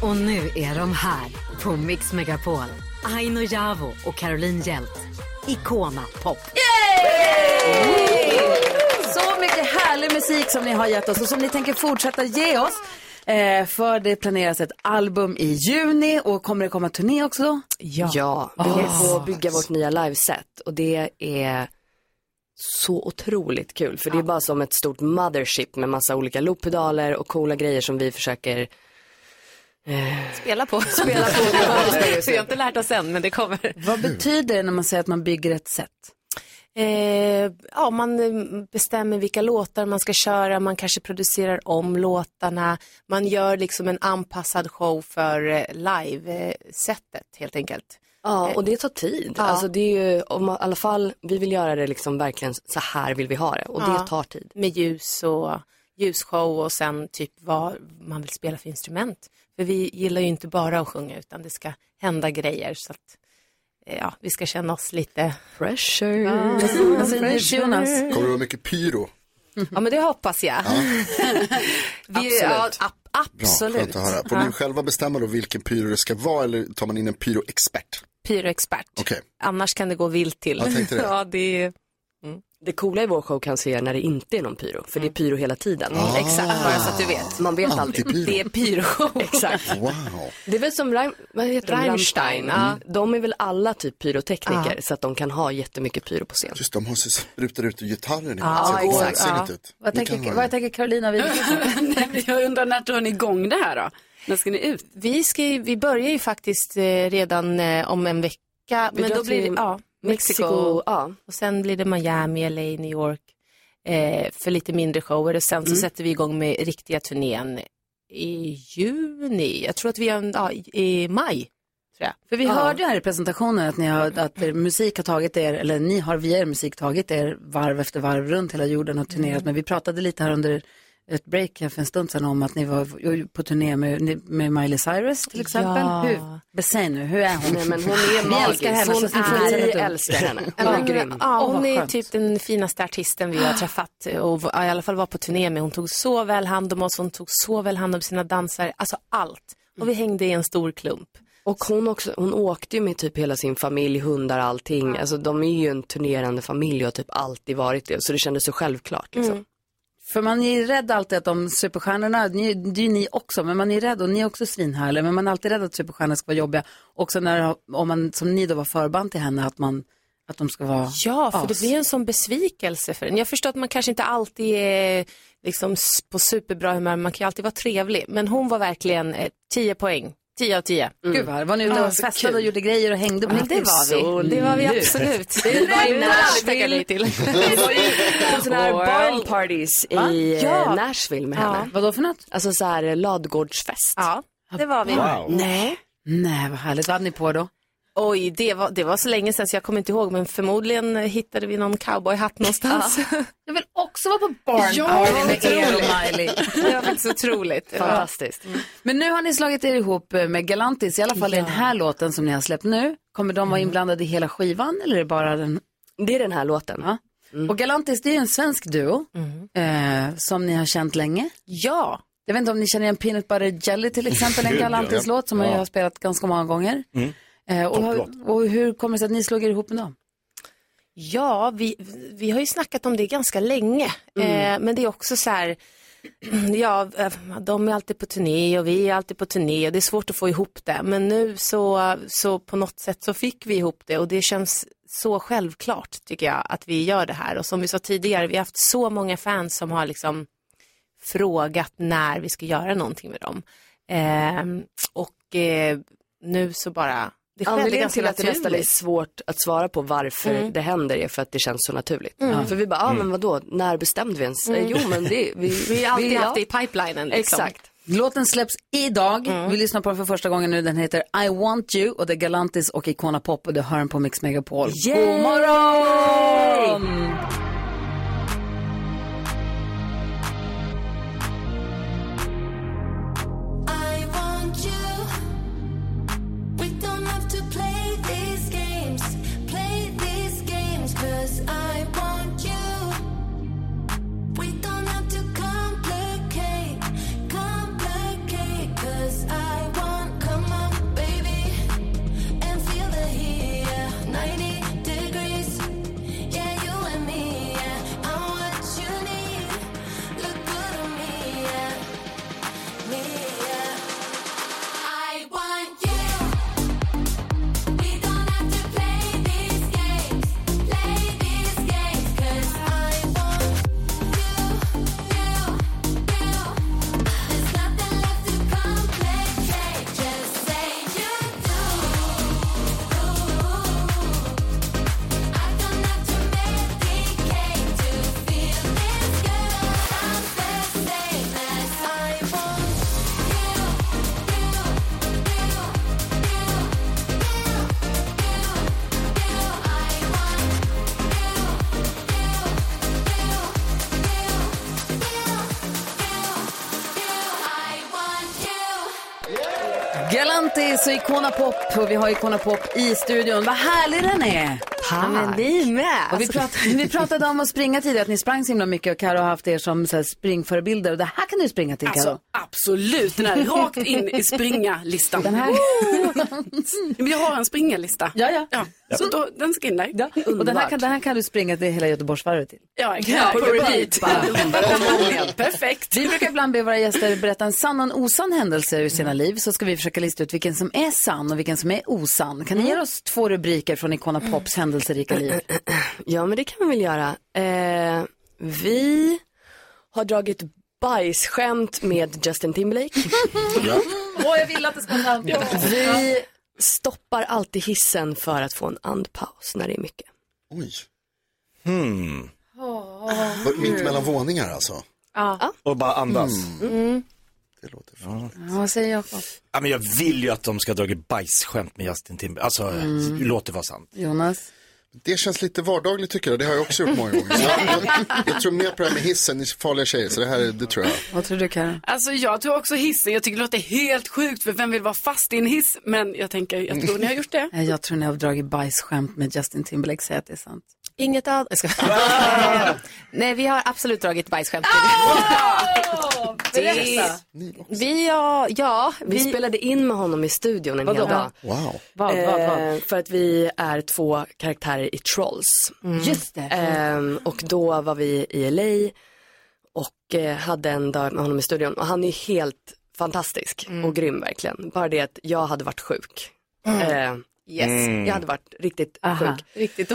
S2: Och nu är de här på Mix Megapol. Aino Javo och Caroline Hjält. Icona Pop.
S1: Så mycket härlig musik som ni har gett oss och som ni tänker fortsätta ge oss. Eh, för det planeras ett album i juni och kommer det komma turné också då?
S14: Ja, vi håller på att bygga vårt nya liveset och det är så otroligt kul för det är bara som ett stort mothership med massa olika looppedaler och coola grejer som vi försöker
S13: Spela på. Spela på. Så vi har inte lärt oss än, men det kommer.
S1: Vad betyder det när man säger att man bygger ett set?
S13: Eh, ja, man eh, bestämmer vilka låtar man ska köra, man kanske producerar om låtarna, man gör liksom en anpassad show för eh, live-sättet helt enkelt.
S14: Ja, och det tar tid.
S13: Ja.
S14: Alltså det är ju, om man, i alla fall, vi vill göra det liksom verkligen så här vill vi ha det och
S13: Ja.
S14: det tar tid.
S13: Med ljus och ljusshow och sen typ vad man vill spela för instrument. För vi gillar ju inte bara att sjunga utan det ska hända grejer så att eh, ja, vi ska känna oss lite,
S14: Pressure.
S1: Vad säger du, Jonas?
S4: Kommer det vara mycket pyro?
S13: ja men det hoppas jag. vi, absolut. Ja, ab-
S4: Bra,
S13: absolut.
S4: skönt att höra. Får ni själva bestämma då vilken pyro det ska vara eller tar man in en pyroexpert?
S13: Pyroexpert.
S4: Okej.
S13: Annars kan det gå vilt till.
S4: Jag tänkte det.
S13: Ja, det är... mm.
S14: Det coola i vår show kanske är när det inte är någon pyro, för det är pyro hela tiden.
S13: Ah. Mm. Exakt, bara så att du vet.
S14: Man vet aldrig.
S13: Antipyro. Det är pyro.
S14: Exakt.
S4: Wow.
S14: Det är väl som Reim, vad heter de?
S13: Rammstein,
S14: Mm. De är väl alla typ pyrotekniker
S4: Ja.
S14: så att de kan ha jättemycket pyro på scen.
S4: Just de har så sprutar ut gitarren
S14: Ja, exakt.
S4: Vansinnigt
S14: Ja.
S4: ut.
S1: Vad
S4: Ni kan
S1: tänker,
S4: ha
S1: vad
S4: det.
S1: tänker Carolina Widerström?
S6: Nej, men jag undrar när drar ni igång det här då? När ska ni ut?
S13: Vi, ska, ju- vi börjar ju faktiskt eh, redan eh, om en vecka.
S14: Vi
S13: Men
S14: drar
S13: då blir det
S14: till
S13: ja, Mexiko.
S14: Mexiko, ja.
S13: Och sen blir det Miami, LA, New York eh, för lite mindre shower. Och sen så
S14: Mm.
S13: sätter vi igång med riktiga turnén i juni. Jag tror att vi är en, ja, i- i maj. Tror jag.
S1: För vi
S13: ja.
S1: hörde här i presentationen att, ni har, att er musik har tagit er, eller ni har via er musik tagit er varv efter varv runt hela jorden och turnerat.
S13: Mm.
S1: Men vi pratade lite här under ett break här för en stund sedan om att ni var på turné med, med Miley Cyrus till exempel.
S13: Ja.
S1: Hur, besäg nu, hur är hon?
S13: Nej, men hon är
S1: Vi
S13: magisk.
S1: älskar henne.
S13: Hon
S1: så att ni får
S13: är-
S1: visa lite upp.
S14: älskar henne.
S13: Ja, men, Ja,
S1: Åh,
S13: hon
S1: vad
S13: är
S1: skönt.
S13: typ den finaste artisten vi har träffat och var- i alla fall var på turné med. Hon tog så väl hand om oss, hon tog så väl hand om sina dansare, alltså allt. Och vi hängde i en stor klump.
S14: Och hon, också, hon åkte ju med typ hela sin familj, hundar, allting. Alltså de är ju en turnerande familj och har typ alltid varit det. Så det kändes så självklart liksom.
S1: Mm. För man är ju rädd alltid att de superstjärnorna, ni, det är ju ni också, men man är rädd och ni är också svinhärliga, men man är alltid rädd att superstjärnor ska vara jobbiga. Också när, om man, som ni då var förband till henne, att, man, att de ska vara
S13: Ja, för
S1: as.
S13: det blir en sån besvikelse för en. Jag förstår att man kanske inte alltid är liksom s- på superbra humör, man kan ju alltid vara trevlig. Men hon var verkligen eh, 10 poäng, 10 av 10.
S1: Mm. Gud vad, var ni ute och festade och gjorde grejer och hängde på
S13: Men det var vi, det var vi absolut.
S1: Det
S13: var
S1: var
S13: i
S1: vi
S13: Nashville.
S1: tackar nej till.
S14: På sådana här barn parties
S1: Va?
S14: i eh,
S1: Ja.
S14: Nashville med
S1: Ja.
S14: henne.
S1: Vadå för något?
S14: Alltså så här eh, ladugårdsfest.
S13: Ja, det var vi.
S14: Wow.
S13: Nej.
S1: Nej, vad härligt. Vad hade ni på då?
S13: Oj, det var, det var så länge sedan så jag kommer inte ihåg, men förmodligen hittade vi någon cowboyhatt någonstans.
S1: Jag vill också vara på barn
S13: Ja,
S1: party
S13: vad
S1: med er
S13: otroligt.
S1: och Miley.
S13: Det var faktiskt otroligt.
S14: Fantastiskt.
S1: Men nu har ni slagit er ihop eh, med Galantis, i alla fall i den här låten som ni har släppt nu. Kommer de
S13: Mm.
S1: vara inblandade i hela skivan eller är det bara den?
S14: Det är den här låten.
S1: Ja.
S13: Mm.
S1: Och Galantis, det är ju en svensk duo eh, som ni har känt länge.
S13: Ja.
S1: Jag vet inte om ni känner igen Peanut Butter Jelly till exempel, en
S13: Gud, ja.
S1: Galantis-låt som
S13: Ja.
S1: jag har spelat ganska många gånger.
S4: Mm.
S1: Eh, och,
S13: Topplåt.
S1: och hur kommer det sig att ni slog er ihop med dem?
S13: Ja, vi, vi har ju snackat om det ganska länge.
S14: Mm.
S13: Eh, men det är också så här, ja, eh, de är alltid på turné och vi är alltid på turné och det är svårt att få ihop det. Men nu så, så på något sätt så fick vi ihop det och det känns så självklart tycker jag att vi gör det här. Och som vi sa tidigare, vi har haft så många fans som har liksom frågat när vi ska göra någonting med dem. Eh, och eh, nu så bara, det skedde
S14: Anledningen
S13: ganska
S14: till att det nästan är
S13: naturligt.
S14: svårt att svara på varför
S13: Mm.
S14: det händer är för att det känns så naturligt.
S13: Mm.
S14: För vi bara, ja ah,
S13: Mm.
S14: men vadå, när bestämde vi ens?
S13: Mm.
S14: Eh, Jo men det, vi,
S13: Vi har alltid
S14: ja.
S13: haft det i pipelinen. Liksom. Mm.
S14: Exakt.
S1: Låten släpps idag. Vi lyssnar på den för första gången nu. Den heter I want you och det är Galantis och Icona Pop och det hör den på Mix Megapol. God morgon!
S5: I want you. We don't have to play these games. Play these games, 'cause I want you. We don't have to complicate, complicate, 'cause I want. Come on, baby, and feel the heat. yeah. 90 degrees, yeah, you and me. Yeah, I'm what you need. Look good on me, yeah. Me, yeah. I want you. We don't have to play these games. Play these games, 'cause I want you, you, you. There's nothing left to complicate. Just say you do. I don't have to medicate to feel this good. I'm the same as I want you.
S1: Galantis och Icona Pop och vi har Icona Pop i studion. Vad härlig den är!
S13: Ja, men ni med! Alltså,
S1: Och vi, pratade, vi pratade om att springa tidigare, att ni sprang så himla mycket och Karo har haft er som så här, springförebilder. Och det här kan du springa till Karo.
S6: Alltså absolut, den här rakt in i springa-listan.
S1: Den här-
S6: Men jag har en springa-lista.
S1: Ja, ja.
S6: Så då, den ska in där.
S1: Ja. Och den här, kan, den här kan du springa till hela Göteborgsvarvet till.
S6: Ja,
S1: Ja,
S6: exakt. På
S1: det är
S6: repeat.
S1: bara-
S6: Kanon. Perfekt.
S1: Vi brukar ibland be våra gäster berätta en sann och en osann händelse ur sina liv. Så ska vi försöka lista ut vilken som är sann och vilken som är osann. Kan ni ge oss två rubriker från Icona Pops händelserika liv?
S14: Ja, men det kan vi väl göra. Eh, vi har dragit bajsskämt med Justin Timberlake.
S1: Åh, jag vill att det ska vara
S14: Vi stoppar alltid hissen för att få en andpaus när det är mycket.
S4: Oj. Hmm. Var det mitt mellan våningar alltså?
S14: Ja.
S3: Och bara andas.
S1: Mm.
S3: Ja.
S1: Ja, vad säger Jakob?
S3: Ja, men jag vill ju att de ska ha dragit bajsskämt med Justin Timber. Alltså,
S1: Mm.
S3: låt det vara sant.
S1: Jonas?
S4: Det känns lite vardagligt tycker jag. Det har jag också gjort många gånger. Så jag, jag tror mer på det här med hissen i farliga tjejer. Så det här är- det tror jag.
S1: Vad tror du Karin?
S6: Alltså jag tror också hissen, jag tycker det låter helt sjukt för vem vill vara fast i en hiss? Men jag tänker, jag tror ni har gjort det.
S1: Nej, Jag tror ni har dragit bajsskämt med Justin Timberlake, säg att det är sant.
S13: Inget av... Jag ska...
S14: Eh,
S13: Nej, vi har absolut dragit bajsskämt.
S14: Berätta.
S13: Vi, har, ja,
S14: Vi spelade in med honom i studion en
S13: Vadå?
S14: hel dag.
S4: Wow.
S1: Vad, vad, vad?
S14: Eh, för att vi är två karaktärer i Trolls.
S13: Mm. Just det.
S14: Eh, och då var vi i LA och eh, hade en dag med honom i studion. Och han är helt fantastisk och grym verkligen. Bara det att jag hade varit sjuk. Eh,
S13: Yes. Mm.
S14: Jag hade varit riktigt sjuk.
S13: Riktigt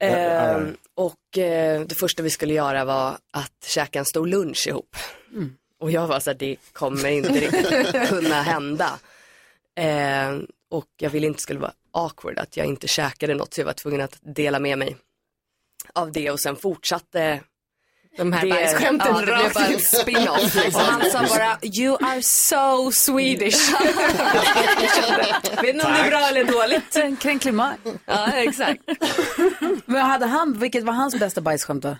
S14: Eh, och eh, det första vi skulle göra var att käka en stor lunch ihop.
S13: Mm.
S14: Och jag var så här, det kommer inte riktigt kunna hända. Eh, och jag ville inte det skulle vara awkward att jag inte käkade något så jag var tvungen att dela med mig av det och sen fortsatte
S13: De här bajsskämten
S14: ja, det blev
S13: rakt
S14: bara en
S13: ut.
S14: spin-off.
S13: Och
S14: Liksom.
S13: han sa bara, you are so Swedish. Jag kände, Vet ni om det är bra eller dåligt?
S1: En kränklig man.
S13: Ja, exakt.
S1: Men hade han, vilket var hans bästa bajsskämt då?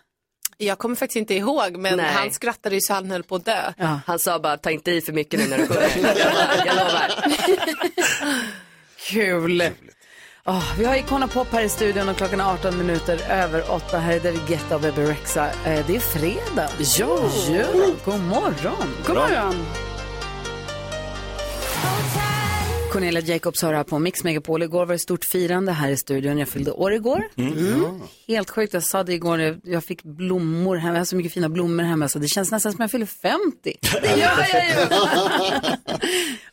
S13: Jag kommer faktiskt inte ihåg, men
S14: Nej.
S13: han skrattade ju så han höll på att dö.
S14: Han sa bara, ta inte i för mycket nu när du sjunger. Jag lovar, jag lovar.
S1: Kul! Åh, vi har Icona Pop här i studion och klockan är 18 minuter över 8. Här är David Guetta och Bebe Rexha. Eh, det är fredag. Ja! God morgon!
S6: God morgon!
S1: Cornelia Jacobs har det här på Mix Megapol. Igår var det stort firande här i studion. Jag fyllde år igår. Helt sjukt, jag sa det igår, jag- jag fick blommor hemma. Jag har så mycket fina blommor hemma så det känns nästan som jag fyller 50. Det gör jag ju!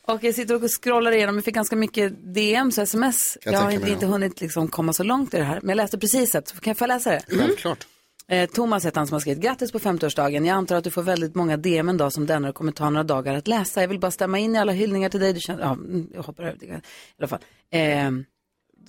S1: och jag sitter och scrollar igenom, jag fick ganska mycket DMs och sms.
S4: Kan
S1: jag
S4: jag
S1: har
S4: tänka
S1: inte,
S4: mig, ja.
S1: inte hunnit liksom komma så långt i det här, men jag läste precis ett, så kan jag få läsa det? Mm.
S4: Självklart.
S1: Eh, Thomas heter han som har skrivit grattis på 50-årsdagen. Jag antar att du får väldigt många DM en dag som denna och kommer ta några dagar att läsa. Jag vill bara stämma in i alla hyllningar till dig. Du känner, ja, mm, jag hoppar över det. I alla fall. Ehm,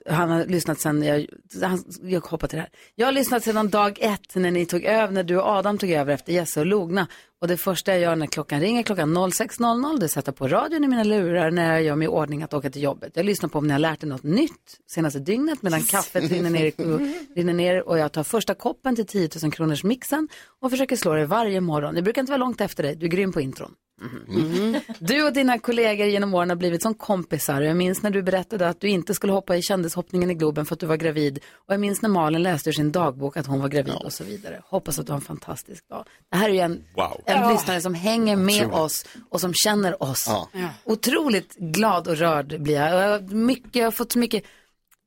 S1: han har lyssnat sen, jag, han, jag hoppar till det här. Jag har lyssnat sedan dag ett när ni tog över, när du och Adam tog över efter Jesse och Logna. Och det första jag gör när klockan ringer klockan 06.00, det är att sätta på radion i mina lurar när jag gör mig i ordning att åka till jobbet. Jag lyssnar på om ni har lärt er något nytt senaste dygnet medan kaffet rinner ner, och, rinner ner och jag tar första koppen till 10 000 kronors mixen och försöker slå det varje morgon. Det brukar inte vara långt efter dig, du är grym på intron. Mm-hmm. Mm. Du och dina kollegor genom åren har blivit som kompisar. Jag minns när du berättade att du inte skulle hoppa i kändishoppningen i Globen för att du var gravid. Och jag minns när Malin läste ur sin dagbok att hon var gravid och så vidare. Hoppas att du har en fantastisk dag. Det här är ju en,
S5: Wow.
S1: en
S5: Ja.
S1: lyssnare som hänger med
S5: Otroligt.
S1: oss och som känner oss.
S5: Ja.
S1: Ja. Otroligt glad och rörd blir jag. Och jag, har mycket, jag har fått så mycket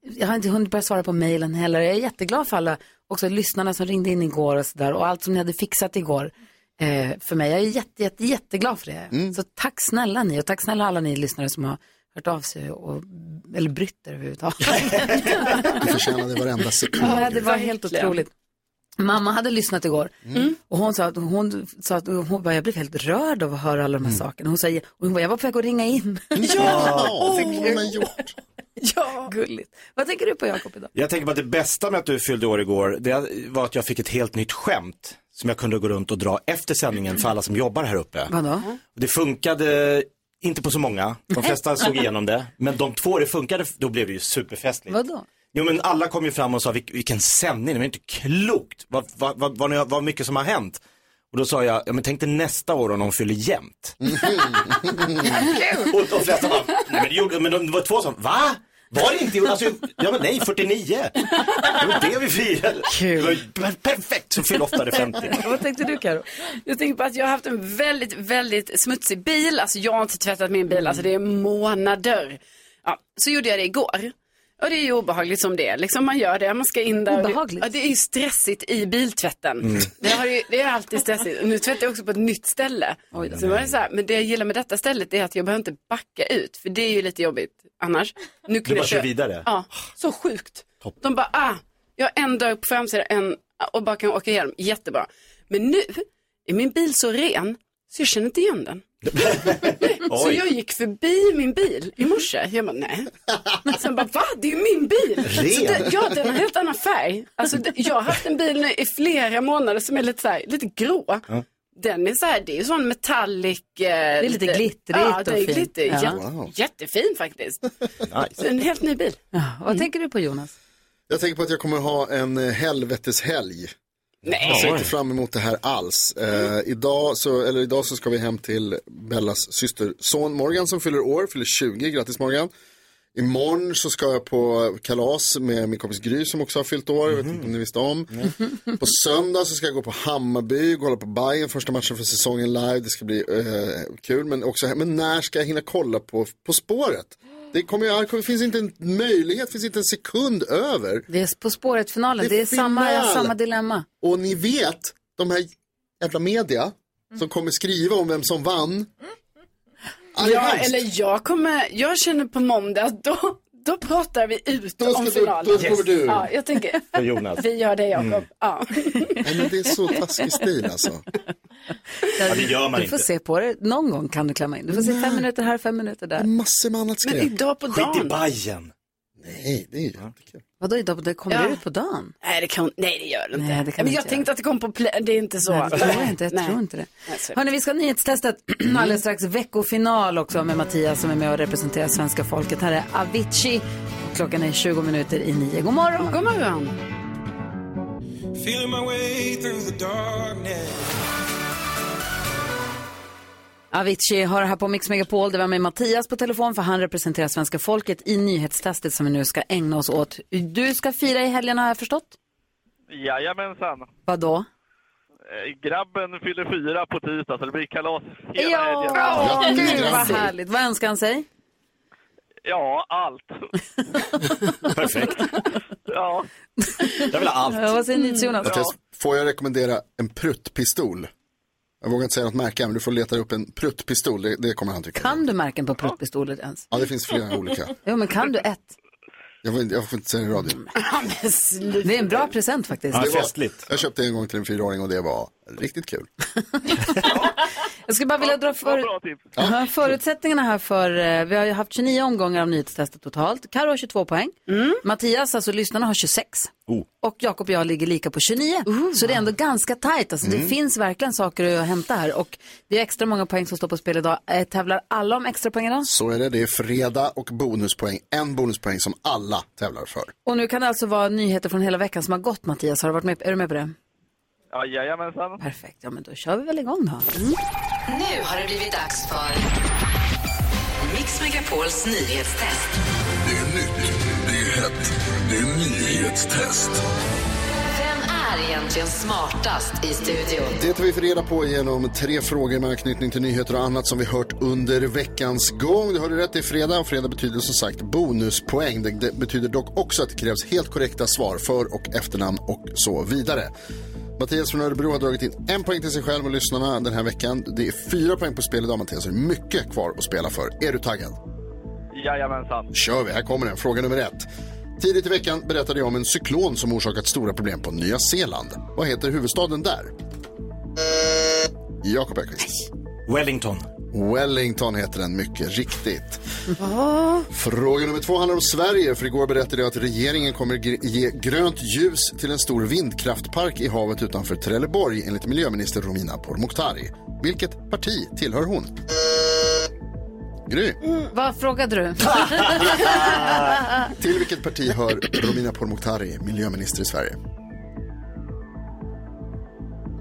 S1: jag har inte hunnit börja svara på mejlen heller. Jag är jätteglad för alla också lyssnarna som ringde in igår och sådär och allt som ni hade fixat igår eh, för mig. Jag är jätte, jätte, jätteglad för det.
S3: Mm.
S1: Så tack snälla ni och tack snälla alla ni lyssnare som har hört av sig och, eller brytt er överhuvudtaget.
S4: Du förtjänade varenda sekund.
S1: Ja, det var helt otroligt. Mamma hade lyssnat igår
S3: Mm.
S1: och hon sa att hon, sa att, hon bara, jag blev helt rörd av att höra alla de här sakerna. Hon säger, och hon bara, jag var på väg att ringa in.
S3: Mm. Ja,
S1: Så
S3: åh,
S1: kul.
S4: men
S1: ja, gulligt. Vad tänker du på Jakob idag?
S3: Jag tänker på att det bästa med att du fyllde år igår, det var att jag fick ett helt nytt skämt som jag kunde gå runt och dra efter sändningen för alla som jobbar här uppe.
S1: Vadå?
S3: Det funkade inte på så många, de flesta såg igenom det, men de två det funkade, då blev det ju superfestligt.
S1: Vadå?
S3: Jo men alla kom ju fram och sa "Vilk- vilken sändning, det var inte klokt, vad, vad, vad, vad, ni har- vad mycket som har hänt. Och då sa jag, ja men tänk dig nästa år om de fyller jämnt.
S1: Mm.
S3: och de flesta bara, nej men det, gjorde, men de var två som, va? Var det inte? Alltså, ja men nej, 49. Det var det vi firade. Det var ju per- perfekt, så fyll oftare 50.
S1: Vad tänkte du Karo?
S6: Jag tänker på att jag har haft en väldigt, väldigt smutsig bil. Alltså jag har inte tvättat min bil, alltså det är månader. Ja, så gjorde jag det igår. Och det är ju obehagligt som det är. Liksom man gör det, man ska in där. och det-
S1: Obehagligt?
S6: Ja, det är ju stressigt i biltvätten.
S1: Mm.
S6: Det, har ju, det är alltid stressigt. Och nu tvättar jag också på ett nytt ställe.
S1: då.
S6: så var det så här, men det jag gillar med detta stället är att jag behöver inte backa ut, för det är ju lite jobbigt annars. Nu kunde
S3: bara
S6: jag
S3: kör
S6: köra-
S3: vidare?
S6: Ja, så sjukt. De bara, ah, jag har en dörr på framsidan en, och bara kan åka igenom. Jättebra. Men nu är min bil så ren så jag känner inte igen den. Så
S5: Oj.
S6: jag gick förbi min bil i morse. Jag bara, nej. Sen bara, va? Det är ju min bil.
S5: Ren?
S6: Så den, ja, den har helt annan färg. Alltså, det- jag har haft en bil nu i flera månader som är lite, så här, lite grå.
S5: Ja.
S6: Den är så här, det är ju sån metallic. Det
S1: är lite glittrigt
S6: ja,
S1: och
S6: det är
S1: fint.
S6: glitter,
S1: Ja.
S6: Jätte,
S1: Wow.
S6: Jättefin faktiskt. Så en helt ny bil.
S1: Vad tänker du på Jonas?
S4: Jag tänker på att jag kommer ha en eh, helveteshelg.
S6: Nej.
S4: Jag ser
S6: Oj.
S4: inte fram emot det här alls. Eh, idag, så, eller idag så ska vi hem till Bellas systerson Morgan som fyller år, fyller 20. Grattis Morgan. Imorgon så ska jag på kalas med min kompis Gry som också har fyllt år. Jag vet inte om ni visste om. På söndag så ska jag gå på Hammarby, kolla på Bayern första matchen för säsongen live. Det ska bli eh, kul. Men, också, men när ska jag hinna kolla på På spåret? Det kommer, jag, det finns inte en möjlighet, finns inte en sekund över.
S1: Det är På spåret-finalen, det
S4: Det
S1: är,
S4: är
S1: samma,
S4: final.
S1: samma dilemma.
S4: Och ni vet, de här jävla media
S1: Mm.
S4: som kommer skriva om vem som vann. Aj,
S6: Ja,
S4: hemskt.
S6: eller jag kommer, jag känner på måndag att då, då pratar vi ut
S4: Då ska
S6: om
S4: du-
S6: finalen.
S4: då kommer du.
S6: Ja, jag tänker,
S4: Och Jonas.
S6: vi gör det Jakob.
S4: Mm.
S6: Ja.
S4: Nej, men det är så taskig stil alltså. Ja, det gör man
S1: du får
S4: inte.
S1: se på det. Någon gång kan du klämma in. Du får se fem minuter här, fem minuter där.
S4: Massor med annat
S1: Men idag på dagen.
S3: Skit i Bajen.
S4: Nej, det är ju jättekul.
S1: Vadå idag? på- Det kommer
S6: Ja.
S1: det ut på dagen?
S6: Nej, det kan, nej, det gör det inte.
S1: Nej, det kan
S6: men
S1: det
S6: jag
S1: inte
S6: tänkte att det kom på play, det är inte så.
S1: Nej, det tror jag inte. Jag tror inte det. Hörni, vi ska ha nyhetstestet alldeles strax. Veckofinal också med Mattias som är med och representerar svenska folket. Här är Avicii. Klockan är 20 minuter i nio. God morgon.
S6: God morgon.
S5: Feeling my way through the darkness.
S1: Avicii har här på Mix Megapol. Det var med Mattias på telefon för han representerar svenska folket i nyhetstestet som vi nu ska ägna oss åt. Du ska fira i helgen har jag förstått.
S15: Jajamensan.
S1: Vadå?
S15: Eh, Grabben fyller fyra på tisdag, så det blir kalas hela helgen.
S1: Ja, gud vad härligt. Vad önskar han sig?
S15: Ja, allt.
S4: Perfekt.
S15: Ja.
S4: Jag vill ha allt.
S1: Ja, vad säger ni Jonas?
S4: Får jag rekommendera en pruttpistol? Jag vågar inte säga något märke, men du får leta upp en pruttpistol. Det, det kommer han tycka.
S1: Kan du märken på pruttpistoler ens?
S4: Ja, det finns flera olika.
S1: Jo, men kan du ett?
S4: Jag får, inte- jag får inte säga det i radion.
S1: Det är en bra present faktiskt.
S4: Det var- Jag köpte en gång till en fyraåring och det var riktigt kul.
S1: Jag skulle bara vilja dra för... Ja, förutsättningarna här för, eh, vi har ju haft 29 omgångar av nyhetstestet totalt. Karo har 22 poäng, Mattias, alltså lyssnarna, har 26.
S5: Oh.
S1: Och Jakob och jag ligger lika på 29. Så det är ändå ganska tajt. Alltså, Det
S16: Mm.
S1: finns verkligen saker att hämta här. Och det är extra många poäng som står på spel idag. Eh, Tävlar alla om extra poäng idag?
S4: Så är det, det är fredag och bonuspoäng. En bonuspoäng som alla tävlar för.
S1: Och nu kan det alltså vara nyheter från hela veckan som har gått, Mattias. Har du varit med, är du med på det?
S15: Ja, jajamensan.
S1: Perfekt, ja men då kör vi väl igång då. Mm.
S2: Nu har det blivit dags för Mix Megapols nyhetstest.
S5: Det är nytt, det är hett, det är nyhetstest.
S2: Vem är egentligen smartast i studion?
S4: Det tar vi för reda på genom tre frågor med anknytning till nyheter och annat som vi hört under veckans gång. Du hörde rätt, det är fredag och fredag betyder som sagt bonuspoäng. Det, det betyder dock också att det krävs helt korrekta svar för och efternamn och så vidare. Mattias från Örebro har dragit in en poäng till sig själv och lyssnarna den här veckan. Det är fyra poäng på spel idag Mattias, så det är mycket kvar att spela för. Är du taggad?
S15: Jajamensan.
S4: kör vi. Här kommer den. Fråga nummer ett. Tidigt i veckan berättade jag om en cyklon som orsakat stora problem på Nya Zeeland. Vad heter huvudstaden där? Jakob Öqvist.
S3: Wellington.
S4: Wellington heter den mycket riktigt. Fråga nummer två handlar om Sverige. För igår berättade jag att regeringen kommer gr- ge grönt ljus till en stor vindkraftpark i havet utanför Trelleborg enligt miljöminister Romina Pourmokhtari. Vilket parti tillhör hon? Gry.
S1: Vad frågade du?
S4: Till vilket parti hör Romina Pourmokhtari, miljöminister i Sverige?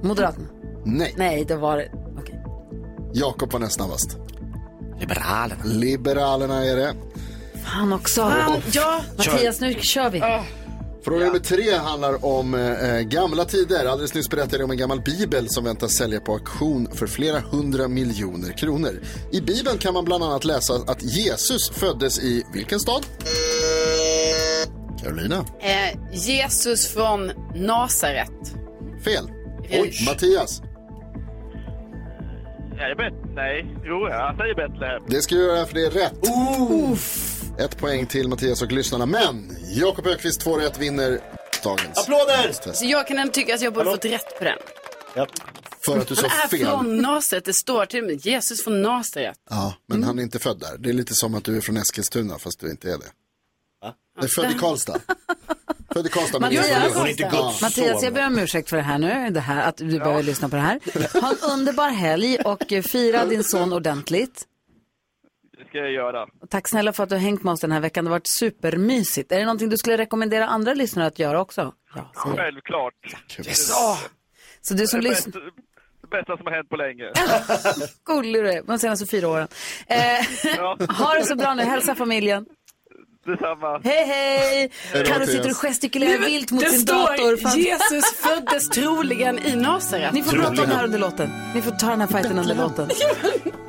S1: Moderaterna?
S4: Nej.
S1: Nej, det var det.
S4: Jakob var näst snabbast. Liberalerna. Liberalerna är det.
S1: Fan också.
S4: Fan,
S1: ja.
S4: ja.
S1: Mattias, nu kör vi.
S4: Fråga nummer tre handlar om eh, gamla tider. Alldeles nyss berättade jag om en gammal bibel som väntas sälja på auktion för flera hundra miljoner kronor. I bibeln kan man bland annat läsa att Jesus föddes i vilken stad? Carolina.
S6: Eh, Jesus från Nasaret.
S4: Fel.
S6: Oj.
S4: Mattias.
S15: Är det bet? Nej. Jo, jag säger Betlehem.
S4: Det ska vi göra för det är rätt. Ett poäng till Mattias och lyssnarna. Men Jakob Ökvist 2 rätt vinner dagens.
S6: Applåder!
S4: test.
S6: Så Alltså, jag kan ändå tycka att jag borde fått rätt på den.
S4: För att du
S6: Han
S4: sa
S6: är
S4: fel.
S6: från Nasaret, det står till och med Jesus från Nasaret.
S4: Ja, men han är inte född där. Det är lite som att du är från Eskilstuna fast du inte är det. Du är född i Karlstad. född i Karlstad men du är
S1: Mattias,
S4: från
S1: Ja. Mattias, jag ber om ursäkt för det här nu, det här, att du behöver lyssna på det här. Ha en underbar helg och eh, fira din son ordentligt.
S15: Det ska jag göra.
S1: Och Tack snälla för att du har hängt med oss den här veckan. Det har varit supermysigt. Är det någonting du skulle rekommendera andra lyssnare att göra också? Ja.
S15: Självklart.
S1: Yes.
S6: Ah.
S1: Ja. Så du som
S15: Det är
S1: lyssnar...
S15: bäst- Det bästa som har hänt på länge.
S1: Gullig du är, de senaste fyra åren. Eh, ha det så bra nu, hälsa familjen.
S15: Detsamma.
S1: Hej, hej!
S6: Hej då,
S1: Carro
S6: Mattias.
S1: sitter och gestikulerar
S6: Nej, men
S1: vilt mot
S6: det
S1: sin
S6: står,
S1: dator. för att-
S6: Jesus föddes troligen i Nasaret.
S1: Ni får prata om det här under låten. Ni får ta den här fighten under låten.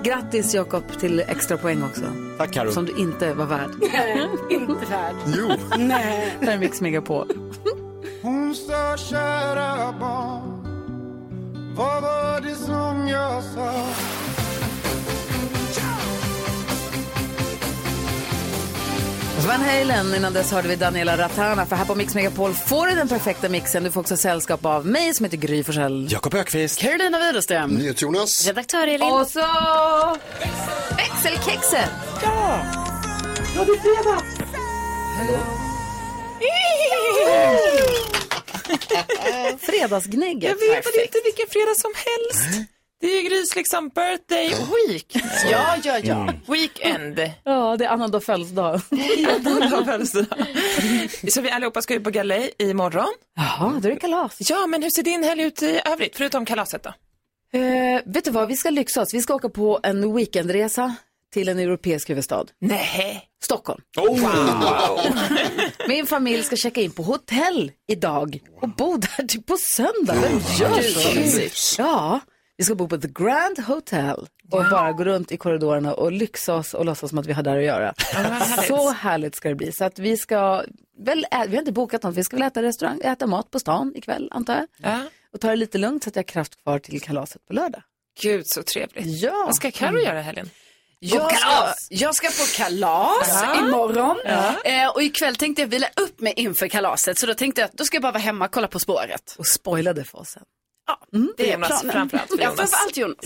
S1: Grattis Jakob till extra poäng också.
S3: Tack, Karo.
S1: Som du inte var värd.
S6: Nej, inte värd.
S4: Jo.
S6: Nej.
S1: Där är Mix Megapol.
S5: Hon sa kära barn Vad var det som jag sa?
S1: Och så Van Halen, innan dess hörde vi Daniela Ratana. För här på Mix Megapol får du den perfekta mixen. Du får också sällskap av mig som heter Gry Forssell.
S4: Jakob Ökvist.
S6: Carolina Widerström.
S4: Jonas.
S1: Redaktör Elin. Och så... Växelkexet! Ja!
S5: Ja, det är fredag!
S1: Fredagsgnägget.
S16: Jag vet att det är inte vilken fredag som helst. Det är ju Grys liksom birthday week.
S1: Ja, ja, ja. Mm.
S16: Weekend.
S1: Ja, det är annandag födelsedag.
S16: Annandag födelsedag. Så vi allihopa ska ju på galej imorgon.
S1: Jaha, då är det kalas.
S16: Ja, men hur ser din helg ut i övrigt, förutom kalaset då?
S1: Eh, vet du vad, vi ska lyxa oss. Vi ska åka på en weekendresa till en europeisk huvudstad.
S16: Nej.
S1: Stockholm.
S5: Oh,
S1: Min familj ska checka in på hotell idag och bo där till på söndag. Vem gör
S5: gud, vad
S1: så? Ja, vi ska bo på The Grand Hotel och bara gå runt i korridorerna och lyxa oss och låtsas som att vi har där att göra. Så härligt ska det bli. Så att vi ska, väl, ä- vi har inte bokat något, vi ska väl äta restaurang, äta mat på stan ikväll antar jag. Och ta det lite lugnt så att jag har kraft kvar till kalaset på lördag.
S16: Gud, så trevligt.
S1: Ja. Mm.
S16: Vad ska Carro göra i helgen?
S6: Jag ska, jag ska på kalas
S16: Ja.
S6: imorgon
S16: Ja.
S6: eh, och ikväll tänkte jag vila upp mig inför kalaset så då tänkte jag att då ska jag bara vara hemma och kolla På spåret.
S1: Och spoilade för oss sen. Mm,
S6: det är
S16: Jonas,
S6: planen.
S16: framförallt för
S6: Ja,
S16: Jonas.
S6: framförallt Jonas.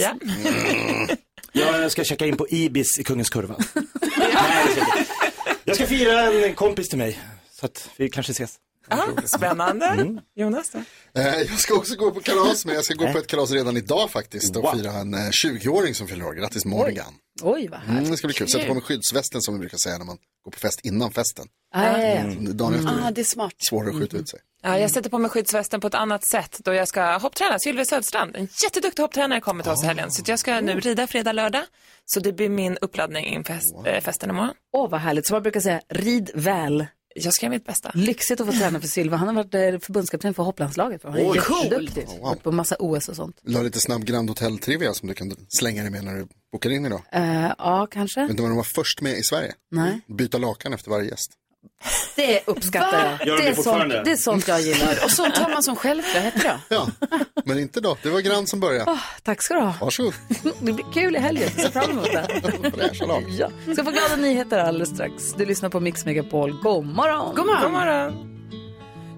S6: Mm.
S17: Jag ska checka in på Ibis i Kungens Kurva. Nej, det ska jag inte. jag ska fira en kompis till mig, så att vi kanske ses.
S16: Ah, spännande. Jonas då?
S4: Eh, Jag ska också gå på kalas, men jag ska gå på ett kalas redan idag faktiskt och fira en eh, 20-åring som fyller år. Grattis Morgan.
S1: Oj, vad
S4: Mm, det ska bli kul. Sätta på
S6: Kul.
S4: mig skyddsvästen som vi brukar säga när man går på fest innan festen.
S16: Ah, ja, ja.
S4: Mm, Dagen efter
S16: Ah,
S4: är
S6: det är smart.
S4: svårare att skjuta ut sig.
S16: Ja, jag sätter på mig skyddsvästen på ett annat sätt då jag ska hoppträna. Sylvia Söderstrand, en jätteduktig hopptränare, kommer till oss i helgen. Så att jag ska nu rida fredag, lördag. Så det blir min uppladdning inför fest, eh, festen imorgon.
S1: Åh, vad härligt. Som man brukar säga, rid väl.
S16: Jag ska göra mitt bästa.
S1: Lyxigt att få träna för Silva. Han har varit eh, förbundskapten för hopplandslaget. va? Han är
S4: Oj.
S1: jätteduktig.
S4: Coolt.
S1: Varit på massa OS och sånt.
S4: Du har lite snabb Grand Hotel-trivia som du kan slänga dig med när du bokar in idag.
S1: Eh, ja, kanske.
S4: Vet du vad de var först med i Sverige?
S1: Nej.
S4: Byta lakan efter varje gäst.
S1: Det uppskattar jag.
S4: Gör de
S1: är
S4: det
S1: sånt,
S4: fortfarande?
S1: det är sånt jag gillar.
S6: Och sånt tar man som självklarhet då.
S4: Men inte då, det var Grand som började.
S1: Åh, tack ska du ha.
S4: Varsågod,
S1: Det blir kul i helgen. Jag ser fram emot det.
S4: fräscha lag.
S1: Ja. Ska få glada nyheter alldeles strax. Du lyssnar på Mix Megapol. God morgon.
S6: God morgon. God